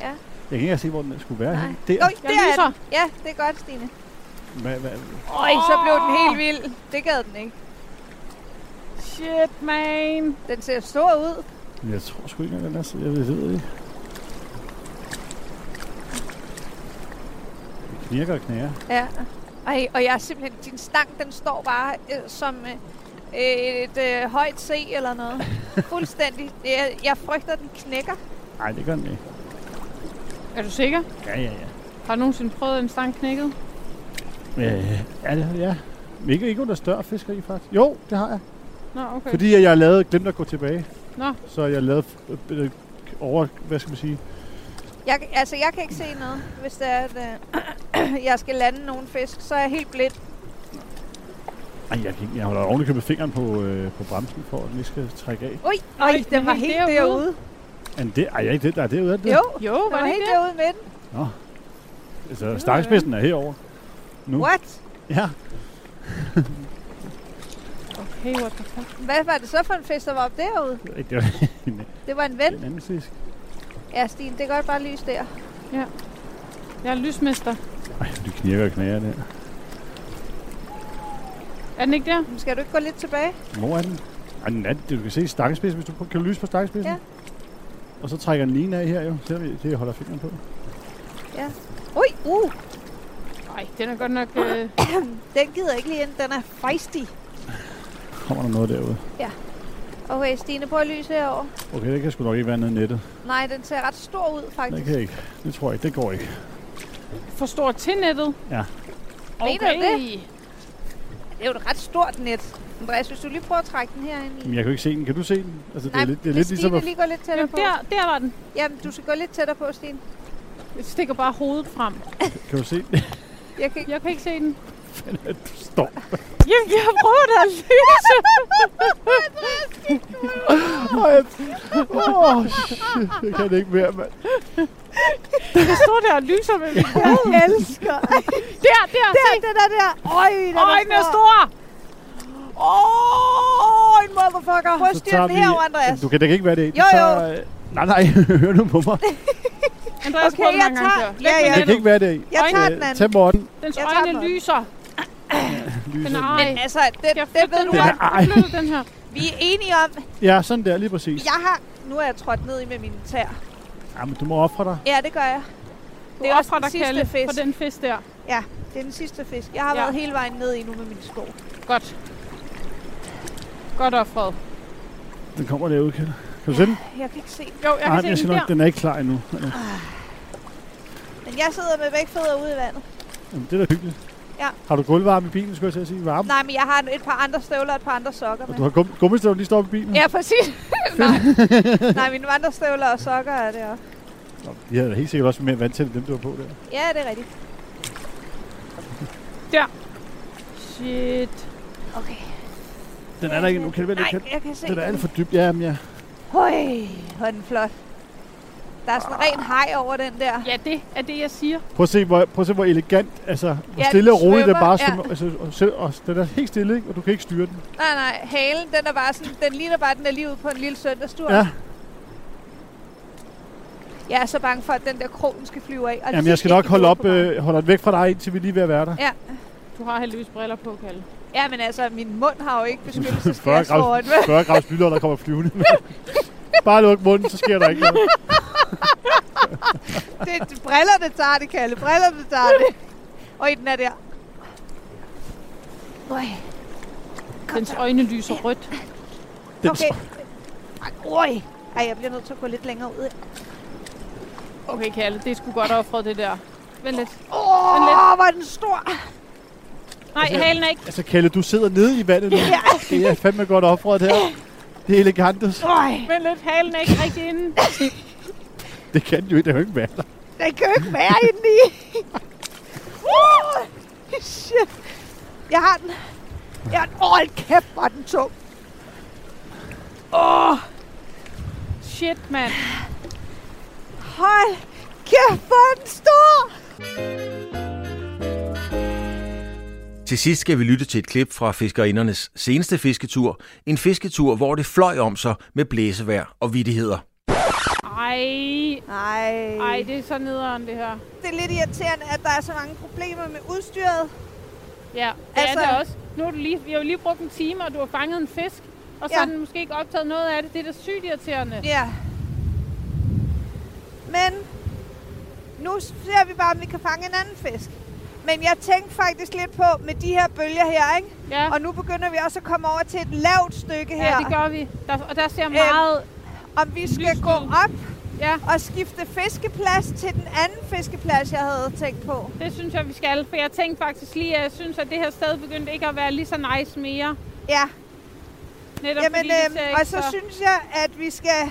A: Ja.
G: Jeg kan ikke engang se, hvor den skulle være
A: Nej.
G: henne. Der.
A: Nå,
B: Jeg
A: der er
B: lyser.
A: den. Ja, det er godt, Stine.
G: Hvad, hvad?
A: Øj, så blev den helt vild. Det gad den ikke.
B: Shit, man.
A: Den ser stor ud.
G: Men Jeg tror sgu ikke, engang, den er så... Jeg ved det ikke. Det knirker og knager.
A: Ja. Ej, og jeg er simpelthen... Din stang, den står bare øh, som øh, et øh, højt C eller
G: [LAUGHS]
A: noget. Fuldstændig. Jeg, jeg frygter, den knækker.
G: Nej, det gør den ikke.
B: Er du sikker?
G: Ja, ja, ja.
B: Har du nogensinde prøvet en stang knækket?
G: Øh, ja, det har ja. Men Ikke, ikke under større fiskeri, faktisk. Jo, det har jeg.
B: Nå,
A: [LAUGHS]
B: okay.
G: Fordi at jeg lavede, glemte at gå tilbage.
B: Nå.
G: Så jeg lavede øh, øh, over, hvad skal man sige?
A: Jeg, altså, jeg kan ikke se noget, hvis det er, at øh, [CLEARS THROAT] jeg skal lande nogen fisk. Så er jeg helt blind.
G: Ej, jeg, kan ikke, jeg holder ovenikøbet fingeren på, øh, på bremsen, for at den ikke skal trække af.
A: Ui, Ej,
B: den
A: den
B: er
A: var
B: helt
A: helt
B: derude.
A: derude.
G: Men det, ej, jeg er ikke det, der er derude, er det det?
A: Jo,
B: Jo,
A: den
B: var
A: var
B: det
A: helt
B: ikke det?
A: derude med den.
G: Altså, stangspidsen er herover. Nu.
A: What?
G: Ja.
B: Okay, what the fuck.
A: Hvad var det så for en fisk, der var op derude?
G: Det var ikke- det var en,
A: Det var en ven.
G: en anden fisk.
A: Ja, Stine, det er godt bare lys der.
B: Jeg er lysmester.
G: Ej, det knirker og knager der.
B: Er den ikke der?
A: Skal du ikke gå lidt tilbage?
G: Hvor er den? Ej, den er, du kan se stangspidsen, hvis du kan du lyse på stangspidsen.
A: Ja.
G: Og så trækker den lige af her jo, selvom jeg, det jeg holder fingeren på.
A: Ui, uh,
B: Nej, den er godt nok... Øh,
A: den gider ikke lige ind. Den er fejstig.
G: Kommer der noget derude?
A: Okay, Stine, prøv at lyse herover.
G: Okay, det kan sgu nok ikke være nede i nettet.
A: Nej, den ser ret stor ud,
G: Det
A: faktisk.
G: kan jeg ikke. Det tror jeg ikke. Det går ikke.
B: for stor til nettet.
G: Ja.
B: Okay.
A: Mener du Det er jo et ret stort net. Andreas, hvis du lige prøver at trække den herind i.
G: Men jeg kan jo ikke se den. Kan du se den? Altså, det
A: Nej,
G: er lidt, det er
A: hvis
G: lidt
A: Stine
G: ligesom at...
A: lige går lidt
B: Jo,
A: tættere på.
B: der, der var den.
A: Jamen, du skal gå lidt tættere på, Stine.
B: Jeg stikker bare hovedet frem.
G: Kan du se [LAUGHS] det?
A: Jeg kan ikke...
B: Jeg kan ikke se den.
G: Du står.
B: Jamen, jeg prøver da at [LAUGHS] lyse.
G: Åh, jeg... oh, shit. Jeg kan det ikke mere, mand.
B: Jeg står der og lyser med min
H: Jeg elsker.
B: Der, der,
H: Der,
B: se.
H: den er der. Øj, den
B: Øj, den er stor.
A: Åh, en motherfucker! Prøv at
G: Så
A: styre
G: tager
A: den herover, Andreas.
G: Du kan da ikke være det.
A: Jo,
G: Så,
A: jo.
G: øh, Nej, [LAUGHS] nej, hør nu på
A: [LAUGHS]
G: mig.
B: Andreas
A: Okay,
B: prøver den
A: jeg
B: mange gange
A: tager-
B: før.
A: Ja,
B: Læg
A: ja.
B: den
G: Det
B: ned
G: kan
B: nu.
G: ikke være det. i.
A: Jeg tager den
G: Tag
A: anden.
G: Morten.
B: Dens
A: Jeg tager
B: øjne
A: den.
B: lyser. Den er ej.
A: Men altså, det,
B: Jeg
A: det
B: flytter
A: ved
B: den
A: du
B: her.
A: godt.
G: godt.
B: Jeg flytter den her.
A: Vi er enige om.
G: Ja, sådan der, lige præcis.
A: Jeg har... Nu er jeg trådt ned i med mine tæer.
G: Ja, men du må ofre dig.
A: Ja, det gør jeg.
B: Du
A: Det er også
B: offrer
A: den
B: dig,
A: sidste
B: Kalle,
A: fisk.
B: for den fisk der.
A: Det er den sidste fisk. Jeg har
B: Ja.
A: været hele vejen ned i nu med mine sko.
B: Godt. Godt offret.
G: Den kommer derude, Kjell. Kan du se den?
A: Jeg kan ikke se den.
B: Jo, jeg kan
G: Nej, men jeg
B: se
G: siger
B: den
G: nok,
B: der.
G: den er ikke klar endnu.
A: Men jeg sidder med begge fødder ude i vandet.
G: Jamen, det er da hyggeligt.
A: Ja.
G: Har du gulvvarme i bilen, skulle jeg til at sige? Varme?
A: Nej, men jeg har et par andre støvler og et par andre sokker
G: Og
A: med.
G: du har gum gummistøvlen lige stoppet i bilen?
A: Ja, præcis. [LAUGHS] Nej. Nej, mine vandrestøvler og sokker er det også.
G: Nå, de havde da helt sikkert også mere vand til dem, du var på der.
A: Ja, det er rigtigt.
B: Shit.
A: Okay.
G: Den er der ikke endnu. Kan det være
A: Nej,
G: lidt Kjeld?
A: jeg kan se
G: Den er alt
A: den.
G: for dybt. Ja, men ja.
A: Høj, hvor er den flot. Der er sådan en ren hej over den der.
B: Ja, det er det, jeg siger.
G: Prøv at se, hvor, prøv at se, hvor elegant, altså, hvor
A: Ja,
G: stille
A: den
G: og roligt det
A: svømmer,
G: bare
A: ja.
G: svømmer. Altså, og, selv, og, den er helt stille, ikke? og du kan ikke styre den.
A: Nej, nej, halen, den er bare sådan, den ligner bare, den er lige ude på en lille søndagstur.
G: Ja,
A: Jeg er så bange for, at den der krog, den skal flyve af. Og
G: jamen,
A: lige
G: jeg skal
A: ind
G: nok
A: i
G: holde,
A: hovedet
G: op,
A: på mig.
G: øh, holde den væk fra dig, indtil vi lige er ved at være der.
A: Ja.
B: Du har heldigvis briller på, Kalle.
A: Ja, men altså, min mund har jo
G: [LAUGHS]
A: ikke
G: 40
A: beskyttelsesglas foran.
G: grads, 40 grads bylder, der kommer flyvende. bare luk munden, så sker der ikke
A: [LAUGHS]
G: noget.
A: [LAUGHS] Det er brillerne, tager det, Kalle. Brillerne tager det. Og i den er der. Øj.
B: Dens øjne lyser rødt.
G: Den
A: Okay. Øj. Ej, jeg bliver nødt til at gå lidt længere ud.
B: Okay, Kalle, det er sgu godt offret, det der. Vent lidt.
A: Åh, oh, hvor er den stor.
B: Nej, halen er ikke.
G: Altså, Kalle, du sidder nede i vandet nu.
A: Ja.
G: Det er fandme godt offret her. Det
A: [LAUGHS]
G: er elegantes.
A: Øj.
B: Vent lidt, halen er ikke rigtig inde.
G: Det kan jo ikke, det kan jo ikke være der.
A: Den kan jo ikke være inde i. Uh, shit. Jeg har den. Jeg har den. Åh, oh, kæft, hvor er den tung. Åh, oh,
B: Shit, mand.
A: hold kæft, hvor er den stor.
C: Til sidst skal vi lytte til et klip fra fiskerindernes seneste fisketur. En fisketur, hvor det fløj om sig med blæsevejr og vidtigheder.
B: Ej.
A: Nej.
B: Ej, det er så nederen, det her.
A: Det er lidt irriterende, at der er så mange problemer med udstyret.
B: Ja, det altså,
A: Altså-
B: er det også. Nu har du lige, vi har jo lige brugt en time, og du har fanget en fisk. Og så
A: Ja.
B: har den måske ikke optaget noget af det. Det er da sygt irriterende.
A: Ja. Men nu ser vi bare, om vi kan fange en anden fisk. Men jeg tænkte faktisk lidt på med de her bølger her, ikke?
B: Ja,
A: Og nu begynder vi også at komme over til et lavt stykke her.
B: ja det Øh, gør vi. Der, og der ser meget...
A: Om vi skal
B: Lyslyd.
A: gå op
B: Ja,
A: og skifte fiskeplads til den anden fiskeplads, jeg havde tænkt på.
B: det synes jeg, vi skal. For jeg tænkte faktisk lige, at jeg synes, at det her sted begyndte ikke at være lige så nice mere.
A: Ja,
B: Netop fordi
A: Jamen,
B: det
A: øhm,
B: ser
A: og
B: ikke
A: så synes jeg, at vi skal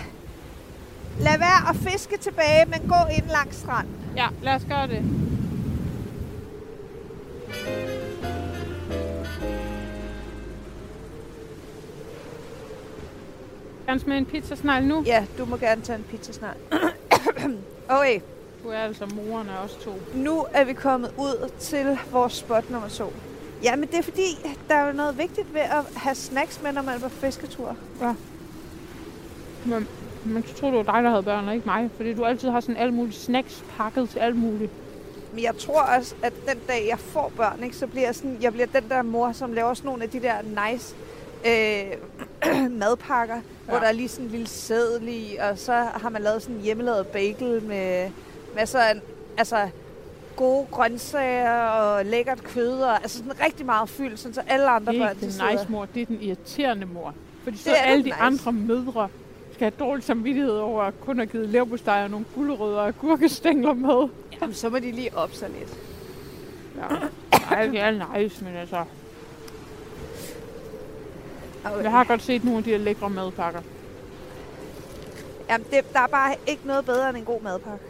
A: lade være at fiske tilbage, men gå ind langs stranden.
B: Ja, lad os gøre det. Gerne med en pizzasnegl nu.
A: Ja, du må gerne tage en pizza snart. [COUGHS] okay.
B: Du er altså moren af os to.
A: Nu er vi kommet ud til vores spot nummer to. Jamen, det er fordi, der er jo noget vigtigt ved at have snacks med, når man er på fisketur.
B: Man skulle tro, det var dig, der havde børn, og ikke mig. Fordi du altid har sådan alt muligt snacks pakket til alt muligt.
A: Men jeg tror også, at den dag, jeg får børn, ikke, så bliver jeg, sådan, jeg bliver den der mor, som laver sådan nogle af de der nice øh, [CLEARS THROAT] madpakker, ja. hvor der er lige sådan en lille sædel i, og så har man lavet sådan en hjemmelavet bagel med masser af altså, gode grøntsager og lækkert kød, og altså sådan rigtig meget fyld, sådan så alle andre
B: det er
A: børn
B: ikke den
A: de sidder-
B: nice mor, det er den irriterende mor. Fordi så
A: Det er
B: alle
A: den
B: de
A: nice.
B: andre mødre skal have dårlig samvittighed over at kun have givet leverpostej og nogle gulerødder og gurkestængler med.
A: Jamen, så må de lige op sig lidt.
B: Ja. Nej, det er nice, men altså... Jeg har godt set nogle af de her lækre madpakker.
A: Jamen, det, der er bare ikke noget bedre end en god madpakke.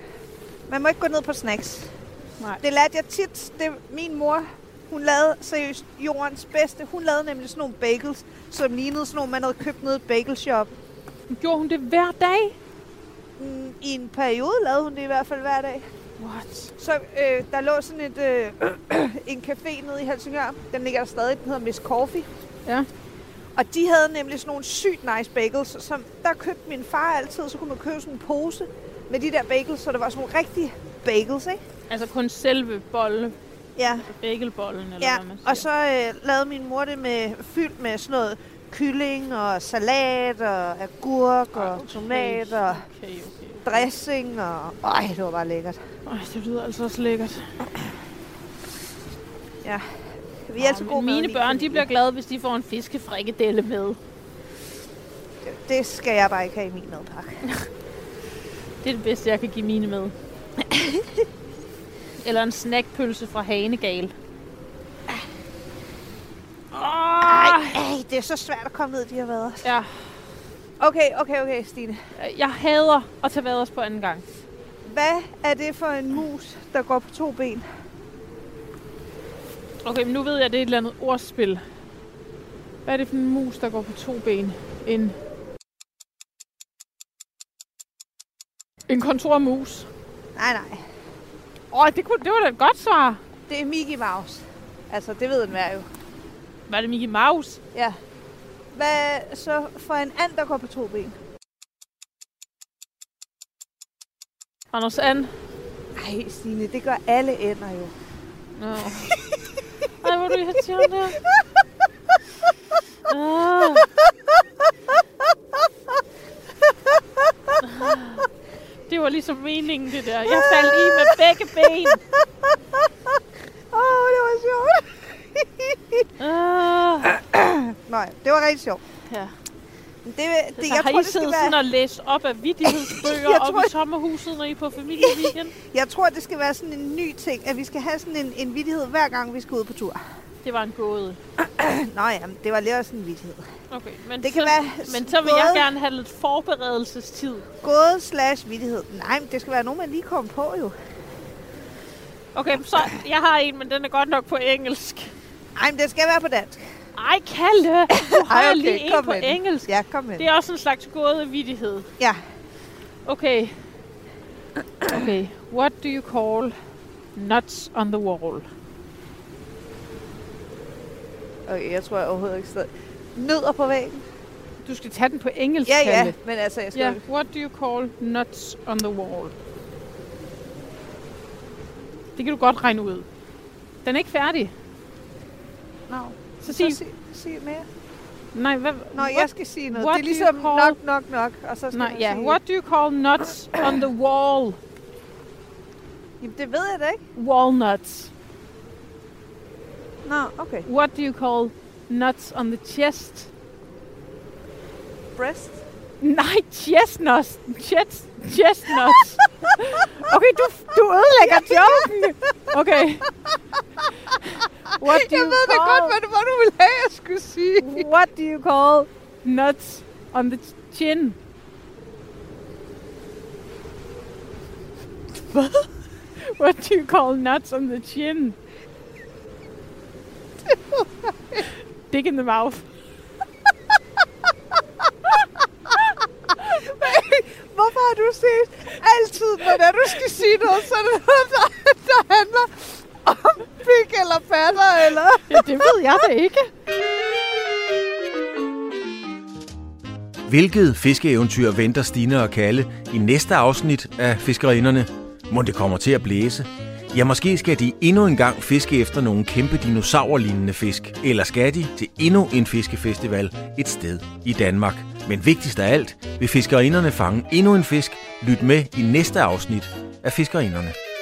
A: Man må ikke gå ned på snacks.
B: Nej.
A: Det lærte jeg tit. Det, min mor, hun lavede seriøst jordens bedste. Hun lavede nemlig sådan nogle bagels, som lignede sådan nogle, man havde købt nede i et bagelshop.
B: Gjorde hun det hver dag?
A: Mm, I en periode lavede hun det i hvert fald hver dag.
B: What?
A: Så øh, der lå sådan et, øh, [CLEARS THROAT] en café nede i Helsingør. Den ligger der stadig. Den hedder Miss Coffee.
B: Ja.
A: Og de havde nemlig sådan nogle sygt nice bagels, som der købte min far altid. Så kunne man købe sådan en pose med de der bagels, så det var sådan nogle rigtige bagels, ikke?
B: Altså kun selve bolle,
A: Ja.
B: bagelbollen, eller
A: Ja,
B: hvad man siger.
A: og så øh, lavede min mor det med, fyldt med sådan noget kylling og salat og agurk og
B: Okay,
A: tomat og
B: Okay, okay.
A: dressing og... Ej, det var bare lækkert.
B: Ej, det lyder altså også lækkert.
A: Vi er altså
B: Nå,
A: gode
B: men
A: med
B: mine
A: min
B: børn, de
A: familie.
B: bliver glade, hvis de får en fiskefrikadelle med.
A: Det skal jeg bare ikke have i min madpakke.
B: Det er det bedste, jeg kan give mine med. Eller en snackpølse fra Hanegal.
A: Ej,
B: Oh,
A: ej, det er så svært at komme ned, de har været.
B: ja,
A: Okay, okay, okay, Stine.
B: jeg hader at tage vaders på anden gang.
A: Hvad er det for en mus, der går på to ben?
B: Okay, men nu ved jeg, det er et eller andet ordspil. Hvad er det for en mus, der går på to ben? En... En kontormus.
A: Nej, nej.
B: Åh, oh, det, kunne, det var da et godt svar.
A: Det er Mickey Mouse. Altså, det ved den hver jo.
B: Var det Mickey Mouse?
A: Ja. Hvad så for en and, der går på to ben?
B: Anders And?
A: Ej, Stine, det gør alle ender jo.
B: Nå. Ej, hvor er du irriterende. Ah. Det var ligesom meningen, det der. Jeg faldt i med begge ben.
A: Åh, oh, det var sjovt. [LAUGHS]
B: Ah.
A: Nej, det var rigtig sjovt.
B: Ja.
A: Men Det, det,
B: Det,
A: det,
B: så
A: jeg,
B: har
A: tror,
B: I
A: det skal
B: siddet
A: være,
B: sådan og læst op
A: [LAUGHS]
B: af vittighedsbøger
A: Jeg
B: op
A: tror-
B: i sommerhuset, når I er på familieweekend?
A: jeg tror, det skal være sådan en ny ting, at vi skal have sådan en, en vidighed, hver gang vi skal ud på tur. [LAUGHS]
B: Det var en gåde.
A: Nå ja, men det var lige også en vidighed.
B: Okay, men,
A: Det kan
B: så,
A: være
B: men så vil jeg
A: både-
B: gerne have lidt forberedelsestid.
A: Gåde slash vidighed. Nej, men det skal være nogen, man lige kommer på jo.
B: Okay, så jeg har en, men den er godt nok på engelsk.
A: Nej, men det skal være på dansk.
B: Ej, Kalle, nu
A: [LAUGHS]
B: har
A: Ej,
B: jeg
A: okay,
B: lige en
A: kom
B: på
A: med den.
B: engelsk.
A: Ja, kom med.
B: Det er også en slags gådevidighed.
A: Ja.
B: Okay. Okay, what do you call nuts on the wall?
A: Okay, jeg tror jeg overhovedet ikke stadig. Nødder på væggen?
B: Du skal tage den på engelsk,
A: Ja, ja,
B: Kalle.
A: men altså, jeg skal...
B: Ja, what do you call nuts on the wall? Det kan du godt regne ud. Den er ikke færdig.
A: Nå,
B: Så
A: så
B: sig,
A: sig, sig mere.
B: nej, hvad,
A: Nå,
B: what,
A: jeg skal sige noget.
B: what
A: det er
B: do you
A: ligesom
B: call-
A: nok, nok, nok, og så skal
B: nej,
A: man
B: ja,
A: sige...
B: what do you call nuts on the wall?
A: Jamen, det ved jeg da ikke.
B: Walnuts.
A: Nå, okay.
B: What do you call nuts on the chest? [LAUGHS]
A: [LAUGHS] Breast?
B: Nej, chestnuts. Chest,
A: [LAUGHS]
B: chestnuts. Okay, du, du ødelægger joken. Okay. What do you call...
A: det var, du ville have, jeg skulle sige.
B: What do you call nuts on the chin? What do you call nuts on the chin?
A: er
B: Dick in the mouth.
A: Hvorfor har du set altid, når du skal sige noget, så er det noget, der, der handler om pik eller patter, eller...
B: Ja, det ved jeg da ikke.
C: Hvilket fiskeeventyr venter Stine og Kalle i næste afsnit af Fiskerinderne? Må det kommer til at blæse? Ja, måske skal de endnu en gang fiske efter nogle kæmpe dinosaurlignende fisk. Eller skal de til endnu en fiskefestival et sted i Danmark? Men vigtigst af alt vil fiskerinderne fange endnu en fisk. Lyt med i næste afsnit af Fiskerinderne.